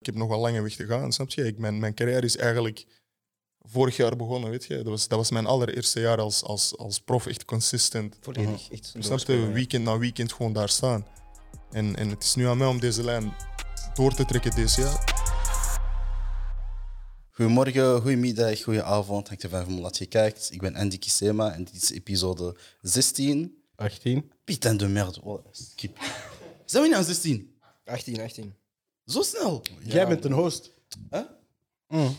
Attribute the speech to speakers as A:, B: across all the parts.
A: Ik heb nog wel lange weg te gaan, snap je? Ik, mijn, mijn carrière is eigenlijk vorig jaar begonnen, weet je? Dat was, dat was mijn allereerste jaar als, als, als prof, echt consistent.
B: Volledig.
C: Mhm.
B: Echt
C: Dus
A: Snap
B: doorspelen,
A: je?
B: ja.
A: Weekend na weekend gewoon daar staan. En, en het is nu aan mij om deze lijn door te trekken dit jaar.
D: Goedemorgen, goedemiddag, goedenavond. Hangt ervan van hoe laat je kijkt. Ik ben Andy Kisema en dit is episode 16.
C: 18.
D: Piet en de merde. Oh, skip. Zijn we niet aan 16?
B: 18, 18.
D: Zo snel?
C: Jij bent een host.
D: Huh?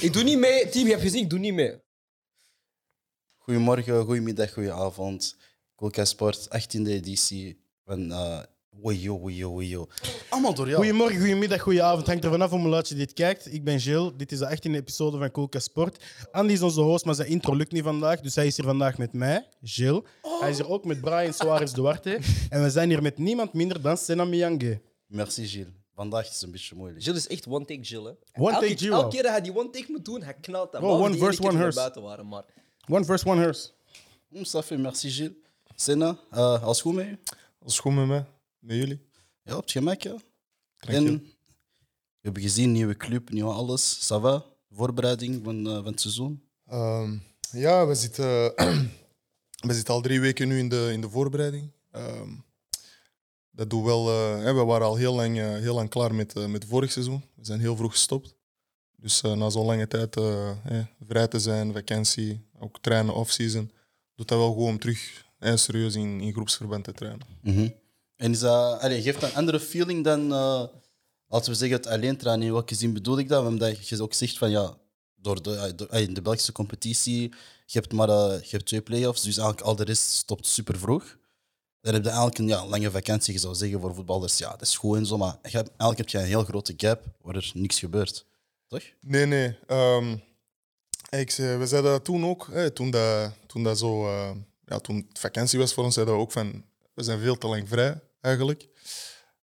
B: Ik doe niet mee, team, je hebt gezien, ik doe niet mee.
D: Goedemorgen, goedemiddag, goedenavond. Colca Sport, 18e editie van... eh Wajo, wajo, wajo. Allemaal door jou.
C: Goedemorgen, goedemiddag, goedenavond. Hangt er vanaf hoe laat je dit kijkt. Ik ben Gilles. Dit is de 18e episode van Coolca Sport. Andy is onze host, maar zijn intro lukt niet vandaag. Dus hij is hier vandaag met mij, Gilles. Hij is hier ook met Brian Soares Duarte. en we zijn hier met niemand minder dan Sena Miyange.
D: Merci, Gilles. Vandaag is het een beetje moeilijk.
B: Jill is echt one take Jill. Hè.
C: One
B: elke,
C: take Jill,
B: Elke
C: wel.
B: keer dat hij die one take moet doen, hij knalt dat.
C: Bro,
B: Behalve
C: one
B: die ene
C: verse,
B: keer
C: one
B: die
C: hearse.
B: we buiten waren, maar...
C: One verse, one hearse.
D: Hm, ça fait, merci, Gilles. Senna, eh, als goed mee?
A: Als goed met mij, met jullie.
D: Ja, op het gemak, ja.
A: Dank je.
D: En we hebben gezien, nieuwe club, nieuw alles. Ça va? Voorbereiding van, eh, van het seizoen.
A: Ehm, ja, we zitten, we zitten al drie weken nu in de, in de voorbereiding. Ehm, dat doet wel, eh, hè, we waren al heel lang, eh, heel lang klaar met, eh, met vorig seizoen. We zijn heel vroeg gestopt. Dus eh, na zo'n lange tijd eh, hè, vrij te zijn, vakantie, ook trainen off-season, doet dat wel gewoon om terug hè, serieus in, in groepsverband te trainen.
D: En is dat, allee, geeft dat een andere feeling dan, eh als we zeggen, het alleen trainen. In welke zin bedoel ik dat? Omdat je ook zegt van ja, door de, eh, door- eh, in de Belgische competitie, je hebt maar eh, je hebt twee play-offs, dus eigenlijk al de rest stopt super vroeg. Dan heb je eigenlijk een ja, lange vakantie, je zou zeggen, voor voetballers. Ja, dat is goed en zo, maar je hebt- eigenlijk heb je een heel grote gap waar er niks gebeurt. Toch?
A: Nee, nee. ehm, ik zei, we zeiden dat toen ook, hè, toen, dat, toen, dat zo, eh, ja, toen het vakantie was voor ons, zeiden we ook van, we zijn veel te lang vrij eigenlijk.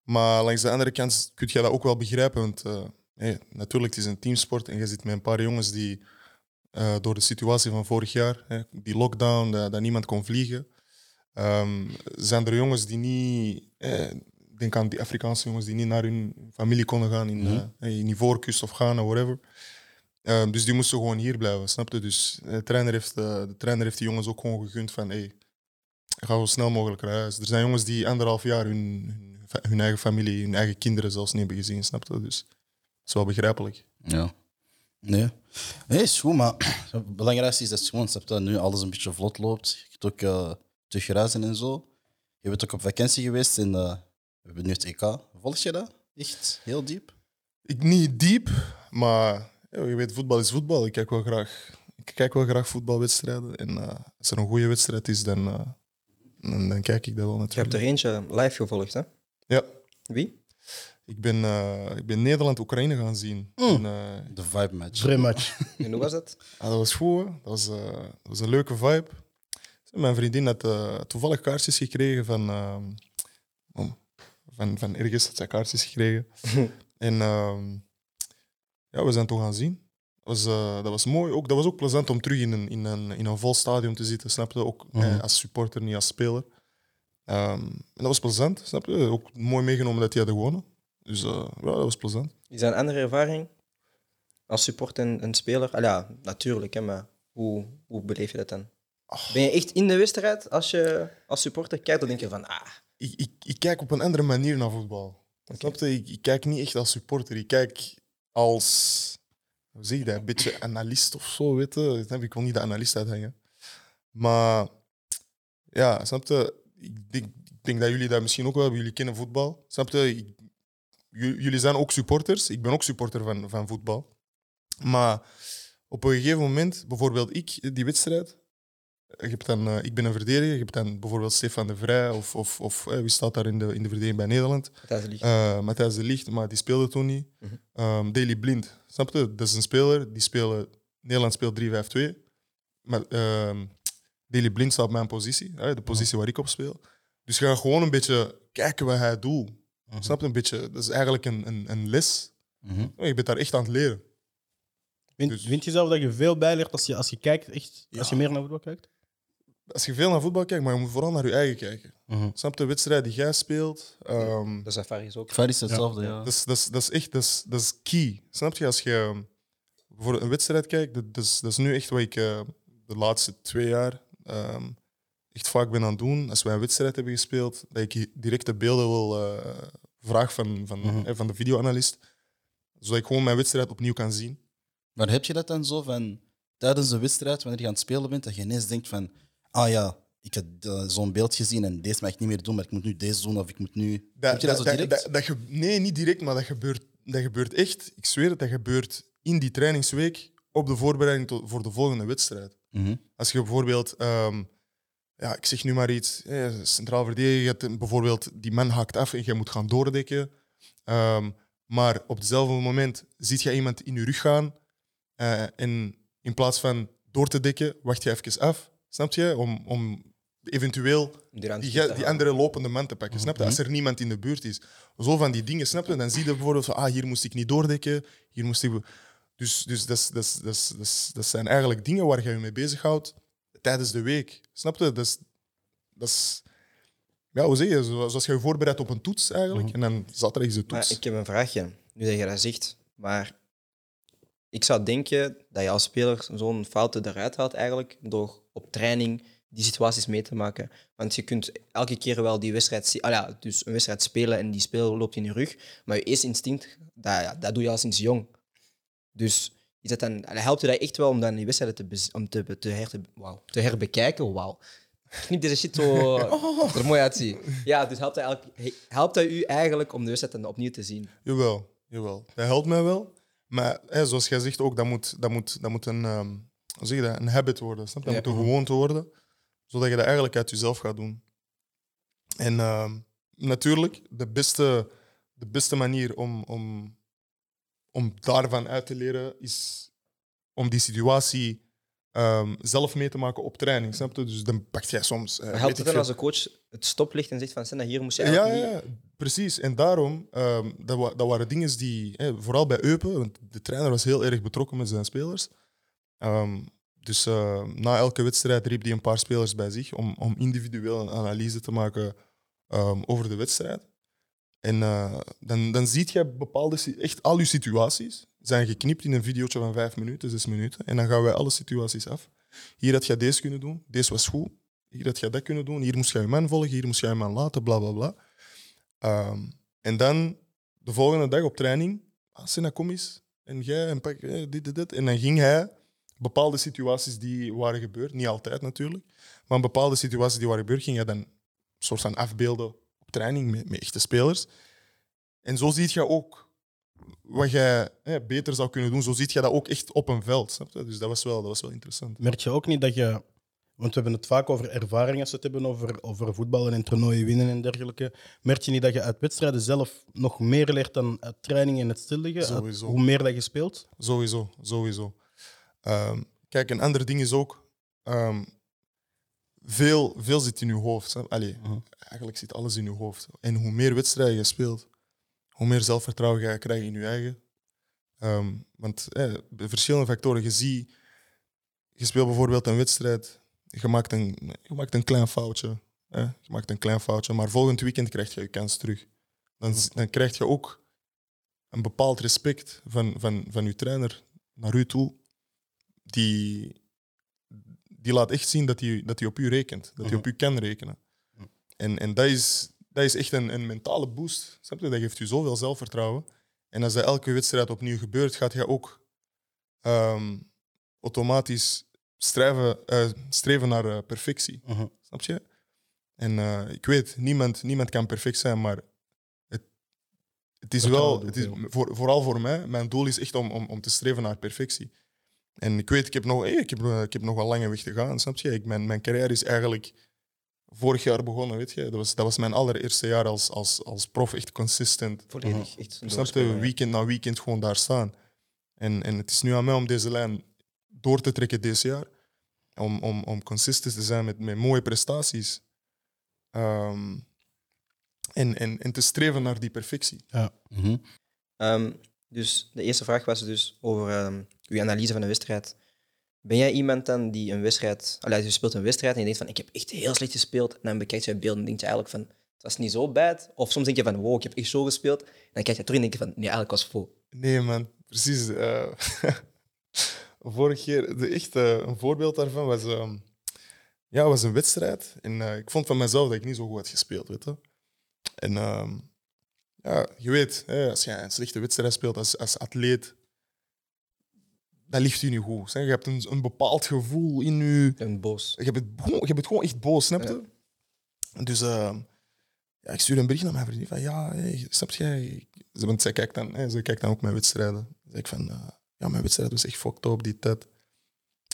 A: Maar langs de andere kant kun je dat ook wel begrijpen, want eh, hé, natuurlijk, het is een teamsport en je zit met een paar jongens die eh, door de situatie van vorig jaar, hè, die lockdown, dat, dat niemand kon vliegen, ehm, zijn er jongens die niet, eh, ik denk aan die Afrikaanse jongens die niet naar hun familie konden gaan in, eh, in Ivoorkust of Ghana, whatever. Ehm, dus die moesten gewoon hier blijven, snap je? Dus eh, de trainer heeft, eh, de trainer heeft die jongens ook gewoon gegund van hey, ga zo snel mogelijk naar huis. Er zijn jongens die anderhalf jaar hun, hun, fa- hun eigen familie, hun eigen kinderen zelfs niet hebben gezien, snap je? Dus dat is wel begrijpelijk.
D: Ja. Nee. Nee, is goed, maar het belangrijkste is dat je gewoon snapt dat nu alles een beetje vlot loopt. Je kunt ook eh terug reizen en zo. Je bent ook op vakantie geweest en eh, we hebben nu het EK. Volg je dat? Echt heel diep?
A: Ik niet diep, maar ja, je weet, voetbal is voetbal. Ik kijk wel graag, ik kijk wel graag voetbalwedstrijden. En eh, als er een goede wedstrijd is, dan, eh, dan, dan kijk ik dat wel
B: Je hebt
A: natuurlijk.
B: er eentje live gevolgd, hè?
A: Ja,
B: Wie?
A: ik ben, eh, ik ben Nederland-Oekraïne gaan zien. En,
B: Mm.
A: eh,
D: De vibe match.
C: Vrij match.
B: En hoe was dat?
A: Ja, dat was goed. hoor. Dat was, eh, dat was een leuke vibe. Mijn vriendin had eh, toevallig kaartjes gekregen van, ehm, om- van, van ergens had zij kaartjes gekregen. en ehm, ja, we zijn toen gaan zien. Dat was, eh, dat was mooi. Ook, dat was ook plezant om terug in een, in een, in een vol stadion te zitten, snap je? Ook eh, als supporter, niet als speler. Ehm, en dat was plezant, snap je? Ook mooi meegenomen dat die hadden gewonnen. Dus eh, ja, dat was plezant.
B: Is dat een andere ervaring als support en, en speler? Ah, ja, natuurlijk, hè, maar hoe, hoe beleef je dat dan? Ben je echt in de wedstrijd als je als supporter kijkt? Dan denk je van, ah,
A: ik, ik, ik kijk op een andere manier naar voetbal. Snap je? Ik, ik kijk niet echt als supporter. Ik kijk als, hoe zeg je dat, een beetje analist of zo, weet je. Snap je? Ik wil niet de analist uithangen. Maar ja, snap je? Ik denk, ik denk dat jullie dat misschien ook wel hebben. Jullie kennen voetbal. Snap je? Ik- ju- jullie zijn ook supporters. Ik ben ook supporter van, van voetbal. Maar op een gegeven moment, bijvoorbeeld ik, die wedstrijd, je hebt dan, eh, ik ben een verdediger. Je hebt dan bijvoorbeeld Stefan de Vrij of, of, of eh, wie staat daar in de, in de verdediging bij Nederland?
B: dat is lief.
A: Eh Matthijs de Ligt, maar die speelde toen niet. Ehm, Daley Blind, snap je? Dat is een speler die speelde. Nederland speelt 3-5-2. Maar ehm Daley Blind staat op mijn positie, hè, de positie waar ik op speel. Dus je gaat gewoon een beetje kijken wat hij doet. Snap je? Een beetje, dat is eigenlijk een, een, een les.
D: Mhm.
A: Oh, Je bent daar echt aan het leren.
C: Dus- Vind, vind je zelf dat je veel bijleert als je, als je kijkt, echt, als je meer naar voetbal kijkt?
A: Als je veel naar voetbal kijkt, maar je moet vooral naar je eigen kijken.
D: Mhm.
A: Snap de wedstrijd die jij speelt? ehm,
B: De safari is ook.
D: Vaar is hetzelfde, ja.
A: dat, is, dat, is, dat is echt dat is, dat is key. Snap je? Als je ehm, voor een wedstrijd kijkt, dat, dat is, dat is nu echt wat ik eh, de laatste twee jaar ehm, echt vaak ben aan het doen. Als wij een wedstrijd hebben gespeeld, dat ik hi- direct de beelden wil eh, vragen van, van,
D: Mhm.
A: eh, van de videoanalist. Zodat ik gewoon mijn wedstrijd opnieuw kan zien.
D: Maar heb je dat dan zo van tijdens de wedstrijd, wanneer je aan het spelen bent, dat je ineens denkt van, ah ja, ik had eh, zo'n beeld gezien en deze mag ik niet meer doen, maar ik moet nu deze doen of ik moet nu... heb
A: Dat,
D: je
A: dat,
D: dat, zo
A: dat,
D: direct?
A: dat- dat ge- nee, niet direct, maar dat gebeurt, dat gebeurt echt. Ik zweer het, dat gebeurt in die trainingsweek op de voorbereiding tot, voor de volgende wedstrijd.
D: Mhm.
A: Als je bijvoorbeeld, ehm, ja, ik zeg nu maar iets, eh, centraal verdediger, je hebt een- bijvoorbeeld die man haakt af en jij moet gaan doordekken. Ehm, maar op hetzelfde moment ziet je iemand in je rug gaan eh, en in plaats van door te dekken, wacht je even af, snap je? Om, om eventueel
B: om Die,
A: die, ge- die andere lopende man te pakken. Snap je?
B: Mhm.
A: Als er niemand in de buurt is. Zo van die dingen, snap je? Dan zie je bijvoorbeeld van, ah, hier moest ik niet doordekken, hier moest ik... Dus, dus dat, is- dat, is- dat, is- dat, is- dat zijn eigenlijk dingen waar je je mee bezighoudt tijdens de week. Snap je? Dat is... Dat is ja, hoe zeg je? Zo- Zoals je je voorbereidt op een toets eigenlijk. En dan zaterdag is de toets.
B: Mhm. Maar ik heb een vraagje, nu dat je dat zegt. Maar ik zou denken dat je als speler zo'n fouten eruit haalt eigenlijk door op training die situaties mee te maken. Want je kunt elke keer wel die wedstrijd, zi- ah ja, dus een wedstrijd spelen en die speler loopt in je rug. Maar je eerste instinct, dat, ja, dat doe je al sinds jong. Dus is dat dan, helpt je dat echt wel om dan die wedstrijden te, bez- om te, be- te, her, wauw, te herbekijken? Wauw. Niet deze shit zo
A: Oh.
B: er mooi uitziet. Ja, dus helpt dat, eigenlijk- helpt dat u eigenlijk om de wedstrijd dan opnieuw te zien?
A: Jawel, jawel. Dat helpt mij wel. Maar hè, zoals jij zegt ook, dat moet, dat moet, dat moet een, ehm, hoe zeg je dat, een habit worden. Snap? je? Dat
B: Ja.
A: moet een gewoonte worden. Zodat je dat eigenlijk uit jezelf gaat doen. En ehm, natuurlijk, de beste, de beste manier om, om, om daarvan uit te leren is om die situatie ehm, zelf mee te maken op training. Snap je? Dus dan pak jij soms. eh,
B: Maar
A: weet
B: helpt het
A: ik
B: dan als
A: veel-
B: een coach het stoplicht en zegt van Senna, hier moest je
A: ja,
B: eigenlijk
A: ja,
B: niet...
A: ja, precies. En daarom, ehm, dat, wa- dat waren dingen die, hè, vooral bij Eupen, want de trainer was heel erg betrokken met zijn spelers. Ehm, dus eh, na elke wedstrijd riep hij een paar spelers bij zich om, om individueel een analyse te maken ehm, over de wedstrijd. En eh, dan, dan zie je bepaalde, si- echt al je situaties zijn geknipt in een videootje van vijf minuten, zes minuten. En dan gaan wij alle situaties af. Hier had je deze kunnen doen, deze was goed. Hier had je dat kunnen doen, hier moest je je man volgen, hier moest je je man laten, bla bla bla. Ehm, en dan de volgende dag op training, ah, Senna, kom eens. En jij, en pak eh, dit, dit, dit. En dan ging hij bepaalde situaties die waren gebeurd, niet altijd natuurlijk, maar bepaalde situaties die waren gebeurd, ging hij dan een soort van afbeelden op training met, met echte spelers. En zo ziet je ook wat jij eh, beter zou kunnen doen. Zo ziet je dat ook echt op een veld. Snap je? Dus dat was wel, dat was wel interessant.
C: Merk je ook niet dat je. Want we hebben het vaak over ervaring als we het hebben over, over voetballen en toernooien winnen en dergelijke. Merk je niet dat je uit wedstrijden zelf nog meer leert dan uit training en het stilliggen? Uit-
A: Sowieso.
C: Hoe meer dat je speelt?
A: Sowieso, sowieso. Ehm, kijk, een ander ding is ook... ehm, veel, veel zit in je hoofd. hè. Allee, Eigenlijk zit alles in je hoofd. En hoe meer wedstrijden je speelt, hoe meer zelfvertrouwen je krijgt in je eigen. Ehm, want eh, bij verschillende factoren. Je ziet... Je speelt bijvoorbeeld een wedstrijd. Je maakt een, je maakt een klein foutje. hè. Je maakt een klein foutje. Maar volgend weekend krijg je je kans terug. Dan, z- dan krijg je ook een bepaald respect van, van, van uw trainer naar u toe, die, die laat echt zien dat hij dat hij op u rekent, dat hij op u kan rekenen. En, en dat, is, dat is echt een, een mentale boost. Snap je? Dat geeft u zoveel zelfvertrouwen. En als dat elke wedstrijd opnieuw gebeurt, gaat je ook ehm, automatisch streven, eh, streven naar eh, perfectie.
C: Mhm.
A: Snap je? En eh, ik weet, niemand, niemand kan perfect zijn, maar het, het is
C: Dat kan wel
A: wel,
C: doen,
A: het is,
C: ja.
A: voor, vooral voor mij, mijn doel is echt om, om, om te streven naar perfectie. En ik weet, ik heb nog, eh, ik heb, eh, ik heb nog een lange weg te gaan, snap je? Ik, mijn, mijn carrière is eigenlijk vorig jaar begonnen, weet je? Dat was, dat was mijn allereerste jaar als, als, als prof, echt consistent.
B: Volledig. Echt
A: Snap je?
B: doorspeler, ja.
A: Weekend na weekend gewoon daar staan. En, en het is nu aan mij om deze lijn door te trekken dit jaar. Om, om, om consistent te zijn met, met mooie prestaties. Ehm, en, en, en te streven naar die perfectie.
D: Mhm.
B: Ehm, dus de eerste vraag was dus over ehm, uw analyse van de wedstrijd. Ben jij iemand dan die een wedstrijd... Allee, je speelt een wedstrijd en je denkt van, ik heb echt heel slecht gespeeld. En dan bekijk je beelden en denk je eigenlijk van, het was niet zo bad. Of soms denk je van, wow, ik heb echt zo gespeeld. En dan kijk je terug en denk je van, nee, eigenlijk was het vol.
A: Nee, man. Precies. eh, vorige keer, de, echt eh, een voorbeeld daarvan was, ehm, ja, was een wedstrijd. En eh, ik vond van mezelf dat ik niet zo goed had gespeeld. Weet je. En ehm, ja, je weet, hè, als je een slechte wedstrijd speelt als, als atleet, dat ligt u niet goed. Hè. Je hebt een, een bepaald gevoel in je
B: Een boos.
A: ik heb het, gewoon- ik heb het gewoon echt boos, snap je? Dus eh, ja, ik stuurde een bericht naar mijn vriendin van ja, hey, snap jij? Ze- Want zij kijkt dan, hè, zij kijkt dan ook mijn wedstrijden. Dan zeg ik van eh, ja, mijn wedstrijd was echt fucked up, die tijd.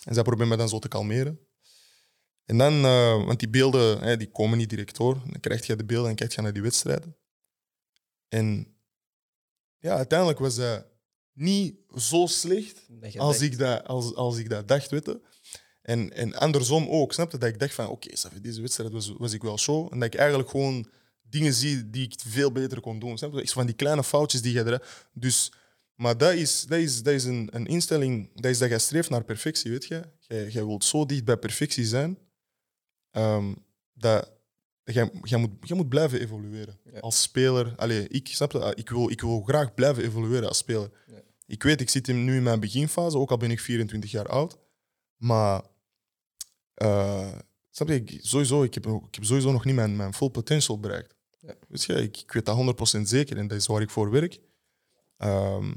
A: En zij probeert me dan zo te kalmeren. En dan, eh, want die beelden hè, die komen niet direct hoor. Dan krijg je de beelden en kijk je naar die wedstrijden. En ja, uiteindelijk was dat niet zo slecht
B: Dat je
A: als
B: denkt,
A: ik, dat, als, als ik dat dacht, weet je. En, en andersom ook, snap je? Dat ik dacht van, oké, Safi, deze wedstrijd was, was ik wel zo. En dat ik eigenlijk gewoon dingen zie die ik veel beter kon doen. Snap je? Echt van die kleine foutjes die je er... Dus, maar dat is, dat is, dat is een, een instelling, dat is dat jij streeft naar perfectie, weet je. Jij, jij wilt zo dicht bij perfectie zijn, ehm, dat jij, jij, moet, jij moet blijven evolueren.
B: Ja.
A: Als speler, allee, ik, snap je? Ah, Ik wil, ik wil graag blijven evolueren als speler. Ik weet, ik zit in- nu in mijn beginfase, ook al ben ik 24 jaar oud. Maar eh, snap je, ik, sowieso, ik, heb, nog- ik heb sowieso nog niet mijn, mijn full potential bereikt.
B: Ja.
A: Weet je, ik, ik weet dat 100% zeker en dat is waar ik voor werk. Ehm,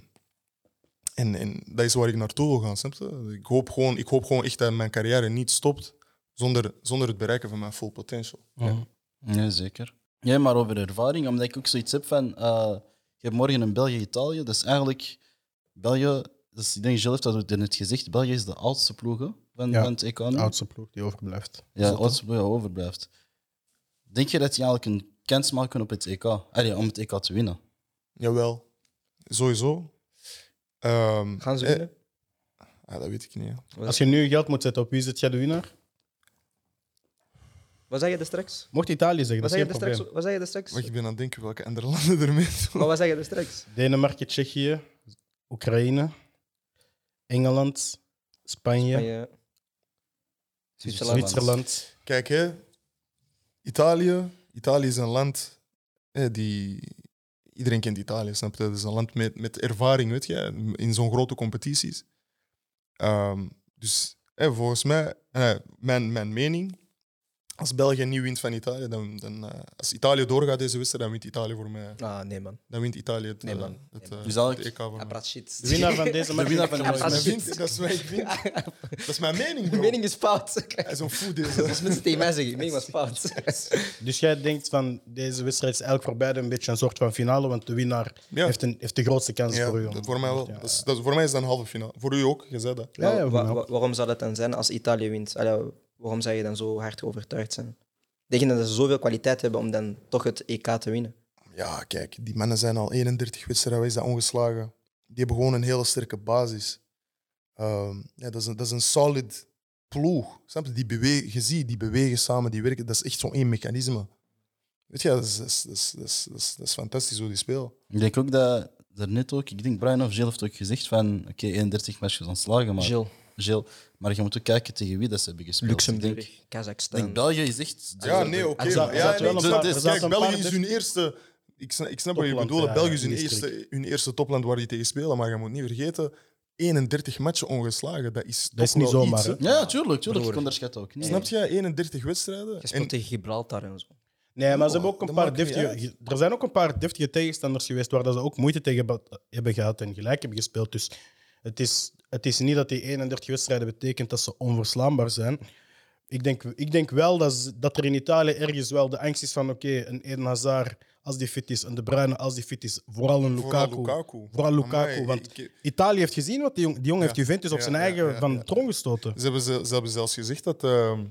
A: en, en dat is waar ik naartoe wil gaan. Snap je? Ik, hoop gewoon, ik hoop gewoon echt dat mijn carrière niet stopt zonder, zonder het bereiken van mijn full potential.
D: Ja, zeker. Ja, maar over ervaring, omdat ik ook zoiets heb van... eh, je hebt morgen een België-Italië, dat is eigenlijk... België, dus ik denk, Jill heeft dat ook net gezegd, België is de oudste ploegen van,
C: Ja.
D: van het EK nu.
C: De oudste ploeg die overblijft.
D: Ja, oudste ploeg die overblijft. Denk je dat die eigenlijk een kans maken op het EK? Allee, om het EK te winnen.
A: Jawel, sowieso. Ehm,
B: Gaan ze
A: eh,
B: winnen?
A: ah, dat weet ik niet. hè.
C: Als je nu geld moet zetten op wie zit jij de winnaar?
B: Wat zei je daar straks?
C: Mocht Italië zeggen,
B: Wat
C: dat
B: zei
C: is
B: je
C: geen
B: daar
C: probleem.
B: straks? Wat zei je daar straks?
A: Want ik ben aan het denken welke andere landen er meedoen.
B: Maar wat zei je daar straks?
C: Denemarken, Tsjechië, Oekraïne, Engeland, Spanje,
B: Van je- Zwitserland.
C: Zwitserland.
A: Kijk, hè. Italië. Italië is een land hè, die... Iedereen kent Italië, snap je? Het is een land met, met ervaring, weet je, in zo'n grote competities. Ehm, dus hè, volgens mij, eh, mijn, mijn mening, als België niet wint van Italië, dan, dan eh, als Italië doorgaat deze wedstrijd, dan wint Italië voor mij.
B: Ah, nee, man.
A: Dan wint Italië het,
B: Nee,
A: eh,
B: man.
A: het, eh,
D: Dus eigenlijk-
A: het EK voor mij.
B: Hij praat shit.
C: De winnaar van deze
D: De
C: match.
D: winnaar van
B: Als-
A: Dat
B: als-
A: is
D: de
A: mijn vind- dat is mijn vind. Dat is mijn mening,
B: Mijn
A: bro.
B: mening is fout.
A: Hij is een food, deze.
B: Als mensen tegen mij zeggen, mijn mening was fout.
C: Dus jij denkt van deze wedstrijd is eigenlijk voor beide een beetje een soort van finale, want de winnaar
A: Ja.
C: heeft, een, heeft de grootste kans
A: Ja,
C: voor u.
A: dat voor mij wel.
C: Ja.
A: Dat is, dat is- voor mij is dat een halve finale. Voor u ook, je zei dat.
C: Ja, ja,
B: Wa-
C: voor mij
B: wa-
C: ook.
B: waarom zou dat dan zijn als Italië wint? Allee, waarom zou je dan zo hard overtuigd zijn? Denk je dat ze zoveel kwaliteit hebben om dan toch het EK te winnen?
A: Ja, kijk, die mannen zijn al 31 wedstrijden is dat ongeslagen. Die hebben gewoon een hele sterke basis. Ehm, ja, dat, is een, dat is een solid ploeg. Snap je? Die bewegen, je ziet, die bewegen samen, die werken. Dat is echt zo'n één mechanisme. Weet je, dat is, dat is, dat is, dat is, dat is, dat is fantastisch hoe die spelen.
D: Ik denk ook dat, daarnet ook, ik denk Brian of Jill heeft ook gezegd van, oké, 31 matches ontslagen, maar...
B: Gilles,
D: Jill, maar je moet ook kijken tegen wie dat ze hebben gespeeld. Ik denk,
B: Luxemburg,
D: ik
B: Kazachstan.
D: denk België is echt...
A: Ja, nee, oké. maar-
B: Er zat- er
A: ja,
C: zat wel
A: nee,
C: een
A: dat
C: paar-
A: is-
C: er zat
A: kijk,
C: een
A: België
C: paar
A: is hun eerste. Ik snap, ik snap wat je
C: Topland,
A: bedoelt.
C: ja,
A: België is
C: in
A: hun
C: die
A: eerste, hun eerste topland waar die tegen spelen. Maar je moet niet vergeten: 31 matchen ongeslagen. Dat is,
C: Dat is
A: toch
C: niet
A: wel
C: zomaar,
A: iets,
C: hè?
A: hè?
D: Ja, tuurlijk, tuurlijk.
B: Broer.
D: Ik onderschat dat ook niet.
A: Snap je? 31 wedstrijden.
B: Je
A: En-
B: speelt tegen Gibraltar en zo.
C: Nee, maar ze hebben
A: Oh,
C: ook een
A: dat
C: paar
A: maakt niet
C: deftige, er zijn ook een paar deftige tegenstanders geweest waar dat ze ook moeite tegen hebben- hebben gehad en gelijk hebben gespeeld. Dus het is, het is niet dat die 31 wedstrijden betekent dat ze onverslaanbaar zijn. Ik denk, ik denk wel dat, ze- dat er in Italië ergens wel de angst is van oké, een Eden Hazard als die fit is, een De Bruyne als die fit is, vooral een
A: Vooral
C: Lukaku.
A: Lukaku.
C: Vooral Lukaku,
A: Amai,
C: want
A: ik-
C: Italië heeft gezien wat die jongen, die jongen
A: Ja.
C: heeft Juventus op
A: Ja,
C: zijn
A: ja,
C: eigen
A: ja,
C: van
A: ja.
C: de troon gestoten.
A: Ze hebben, ze, ze hebben zelfs gezegd dat, ehm,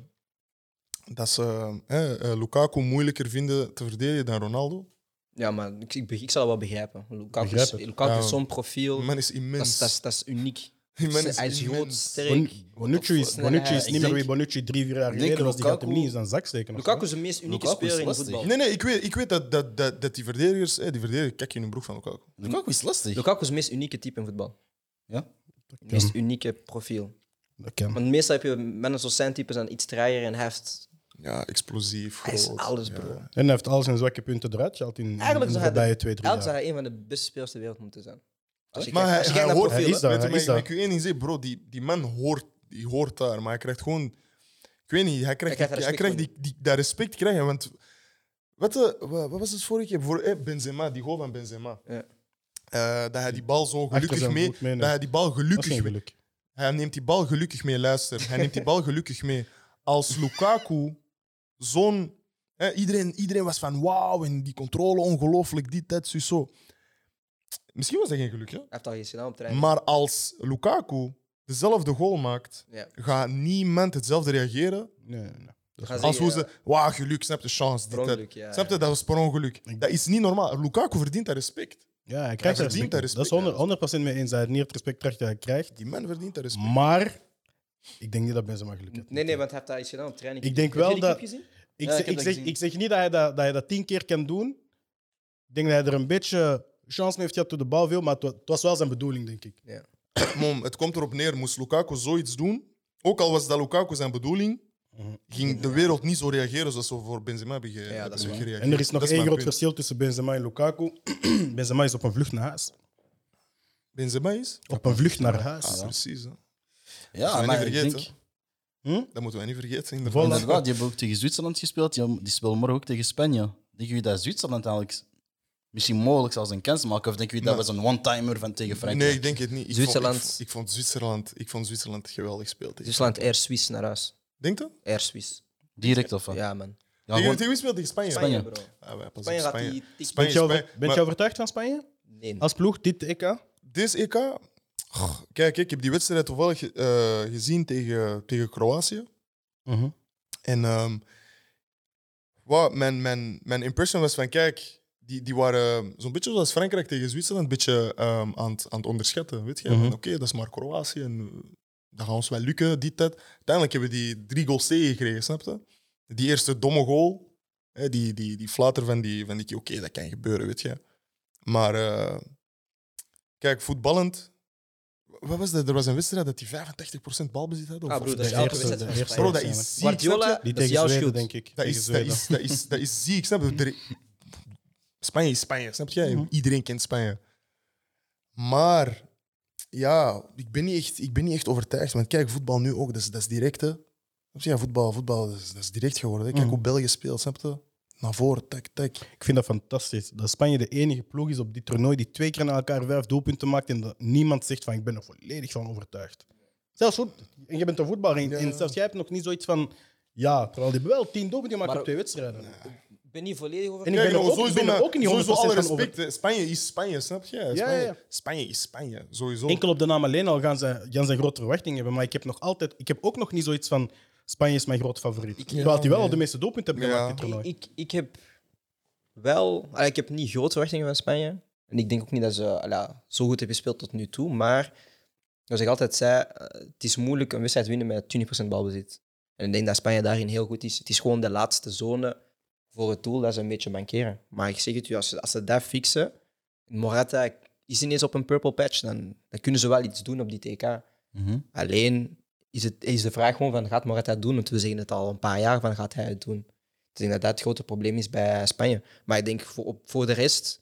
A: dat ze eh, eh, Lukaku moeilijker vinden te verdedigen dan Ronaldo.
B: Ja, maar ik, ik, beg- ik zal dat wel begrijpen. Lukaku, is-
C: Begrijp het.
B: Lukaku
A: Ja.
B: is zo'n profiel.
A: Die man is
B: Dat is,
A: immens.
B: dat, is, dat is uniek.
A: Die man is
B: hij is groot,
A: immens.
B: sterk.
C: Bon- Bonucci is,
B: Snelheid.
C: Bonucci is
B: Ik
C: niet meer
D: denk-
C: wie Bonucci drie, vier jaar
D: ik
C: geleden
D: denk
C: was. Die gaat hem
D: Lukaku-
C: niet eens aan zak steken. of
B: Lukaku
C: zo.
B: is de meest unieke
D: Lukaku is
B: speler in
D: lastig.
B: voetbal.
A: Nee, nee, ik weet, ik weet dat, dat, dat, dat die verdedigers, eh, die verdedigers, kijk je in de broek van Lukaku.
D: Lukaku is lastig.
B: Lukaku is het meest unieke type in voetbal.
D: Ja.
B: Het meest unieke profiel.
C: Dat kan.
B: Want meestal heb je mannen zoals zijn types dan iets trager en hij heeft
A: Ja, explosief.
B: hij is
A: groot.
B: alles,
A: Ja.
B: bro.
C: En hij heeft al zijn zwakke punten eruit gehaald in, in,
B: Eigenlijk
C: in de
B: zou hij,
C: voorbije
B: de,
C: twee, drie
B: eigenlijk zou
C: jaar.
B: hij een van de beste spelers ter wereld moeten zijn. Als je
A: Maar
B: kijkt-
A: hij,
B: als je
A: hij
B: kijkt naar
A: hoort,
C: Hij
B: profiel,
C: is
B: hè.
C: daar,
A: weet je,
C: hij
A: maar
C: is
A: ik maar ik
C: daar.
A: u één ding zeggen, bro, die, die man hoort, die hoort daar, maar hij krijgt gewoon, ik weet niet, hij krijgt,
B: Hij krijgt
A: die-
B: daar
A: hij krijgt die,
B: respect
A: die, dat respect krijgen, want wat, eh, wa- wat, was het vorige keer voor eh, Benzema, die goal van Benzema,
B: Ja.
A: Eh, dat hij die bal zo gelukkig
C: zijn
A: mee,
C: voet meeneemt.
A: dat hij die bal
C: Dat is
A: gelukkig,
C: geen
A: mee-
C: geluk.
A: hij neemt die bal gelukkig mee, luister, hij neemt die bal gelukkig mee. Als Lukaku zo'n, hè, iedereen, iedereen was van wauw en die controle ongelooflijk, dit, dat, zus, zo. Misschien was dat geen geluk, hè?
B: Hij heeft al iets gedaan op terrein.
A: Maar als Lukaku dezelfde goal maakt,
B: Ja.
A: gaat niemand hetzelfde reageren
C: Nee, nee, nee.
B: Dan gaan
A: als hoe
B: zeggen,
A: ze... Wauw, geluk, snap je, chance. Dit,
B: eh, Per
A: dat.
B: ongeluk, ja,
A: snap je,
B: ja.
A: dat was per ongeluk. Dat is niet normaal. Lukaku verdient dat respect.
C: Ja, hij krijgt
A: Hij
C: dat
A: verdient
C: respect.
A: dat
C: Dat
A: respect,
C: is 100%, 100 mee eens. Hij heeft niet het respect krijgt dat hij krijgt.
A: Die man verdient dat respect.
C: Maar ik denk niet dat Benzema geluk heeft.
B: eh, Nee, nee, want hij heeft daar iets gedaan op training.
C: Ik denk
B: Heb je
C: wel
B: die
C: dat-
B: clip gezien?
C: Ik,
D: Ja,
C: zeg,
D: ik heb
C: ik,
D: dat
C: zeg,
D: gezien.
C: ik zeg niet dat hij dat, dat hij dat tien keer kan doen. Ik denk dat hij er een beetje chance mee heeft gehad toen de bal viel, maar het wa- het was wel zijn bedoeling, denk ik.
A: Mom, het komt erop neer. Moest Lukaku zoiets doen, ook al was dat Lukaku zijn bedoeling,
C: Mhm.
A: ging de wereld niet zo reageren zoals ze voor Benzema hebben ge-
B: dat
A: hebben
B: is waar.
A: gereageerd.
C: En er is nog
A: Dat
C: één
A: mijn
C: groot
A: punt.
C: verschil tussen Benzema en Lukaku. Benzema is op een vlucht naar huis.
A: Benzema is?
C: Op een vlucht naar huis. Dus
A: Ah, precies. Hè.
D: Ja,
A: wij
D: maar
A: niet
D: ik
A: vergeten.
D: denk...
A: Dat moeten we niet vergeten.
C: Voilà.
A: Inderdaad.
D: Inderdaad, die hebben ook tegen Zwitserland gespeeld. Die, die spelen morgen ook tegen Spanje. Denk je dat Zwitserland eigenlijk misschien mogelijk zelfs een kans maken? Of denk je dat
A: Nee.
D: was een one-timer van tegen Frankrijk?
A: Nee, ik denk het niet. Ik vond-
B: Zwitserland.
A: ik vond, ik vond Zwitserland, ik vond Zwitserland geweldig speeld.
B: Zwitserland Air Suisse naar huis.
A: Denk dat?
B: Air Suisse.
D: Direct
C: Oh.
D: of wat?
B: Ja, man.
D: Ja,
A: tegen,
D: gewoon-
A: tegen wie speelt tegen Spanje?
B: Spanje,
D: Spanje.
B: bro.
A: Ah, wij, pas
B: Spanje
A: op,
B: gaat
A: Spanje.
B: die... die-
A: Spanje-
C: Ben je,
A: Spanje-
C: bent je
A: maar-
C: overtuigd van Spanje?
B: Nee.
C: Als ploeg, dit
B: Mhm.
C: EK?
A: Dit EK... goh, Kijk, ik heb die wedstrijd toevallig eh, gezien tegen, tegen Kroatië. En ehm wat mijn, mijn, mijn impression was van, kijk, die, die waren zo'n beetje zoals Frankrijk tegen Zwitserland, een beetje ehm, aan, het, aan het onderschatten. Weet je,
C: Mhm.
A: Van, oké, dat is maar Kroatië en eh, dat gaat ons wel lukken, dit, dat. Uiteindelijk hebben die drie goals tegengekregen, snap je? Die eerste domme goal, hè, die, die, die flater van die, van die oké, dat kan gebeuren, weet je. Maar eh, kijk, voetballend, wat was dat? Er was een wedstrijd dat die 85% balbezit hadden. of-
B: Ah, broer,
A: of-
B: dat is
C: de
B: elke
C: eerste-
B: wedstrijd
C: de
B: van
C: eerste
A: Bro,
B: Spanje.
A: dat
C: waarschijnlijk.
A: is ziek, snap je?
B: Guardiola,
C: Die
B: dat is
C: tegen
B: jouw
C: Zweden,
B: schuld.
C: denk ik.
A: Dat
C: Tegen
A: is, dat,
C: Zweden.
A: is, dat, is, dat is ziek, snap je? Er- Spanje is Spanje, snap je?
C: Mhm.
A: Iedereen kent Spanje. Maar ja, ik ben, niet echt, ik ben niet echt overtuigd. Want kijk, voetbal nu ook, dat is, dat is direct. Hè. Snap je? Ja, voetbal, voetbal dat, is, dat is direct geworden. Hè. Kijk
C: Mhm.
A: hoe België speelt, snap je? Naar voren, tak, tak.
C: Ik vind dat fantastisch. Dat Spanje de enige ploeg is op dit toernooi die twee keer na elkaar vijf doelpunten maakt en dat niemand zegt van ik ben er volledig van overtuigd. Zelfs goed, en je bent een voetballer en,
A: Ja.
C: en zelfs jij hebt nog niet zoiets van ja, terwijl die hebben wel tien doelpunten gemaakt
B: Maar-
C: op twee wedstrijden.
B: Ik ben niet volledig over.
C: En ik- ben er
A: jongen,
C: ook- ik ben er
A: maar
C: ook niet
A: Sowieso
C: 100%
A: alle
C: van
A: respect. hè. Spanje is Spanje, snap je? Spanje,
C: ja, ja.
A: Spanje is Spanje, sowieso.
C: Enkel op de naam alleen al gaan ze, gaan ze een grote verwachting hebben, maar ik heb nog altijd, ik heb ook nog niet zoiets van Spanje is mijn groot favoriet. Terwijl die wel al de meeste doelpunten hebben
A: Ja.
C: gemaakt dit toernooi.
B: Ik, ik heb wel... allee, ik heb niet grote verwachtingen van Spanje. En ik denk ook niet dat ze allee, zo goed hebben gespeeld tot nu toe. Maar zoals ik altijd zei, eh, het is moeilijk een wedstrijd winnen met 20% balbezit. En ik denk dat Spanje daarin heel goed is. Het is gewoon de laatste zone voor het doel dat ze een beetje bankeren. Maar ik zeg het u, als ze, als ze dat fixen... Morata is ineens op een purple patch, dan, dan kunnen ze wel iets doen op die TK.
D: Mhm.
B: Alleen is, het, is de vraag gewoon van gaat Morata het doen? Want we zeggen het al een paar jaar van gaat hij het doen? Ik denk dat dat het grote probleem is bij Spanje. Maar ik denk voor, op, voor de rest,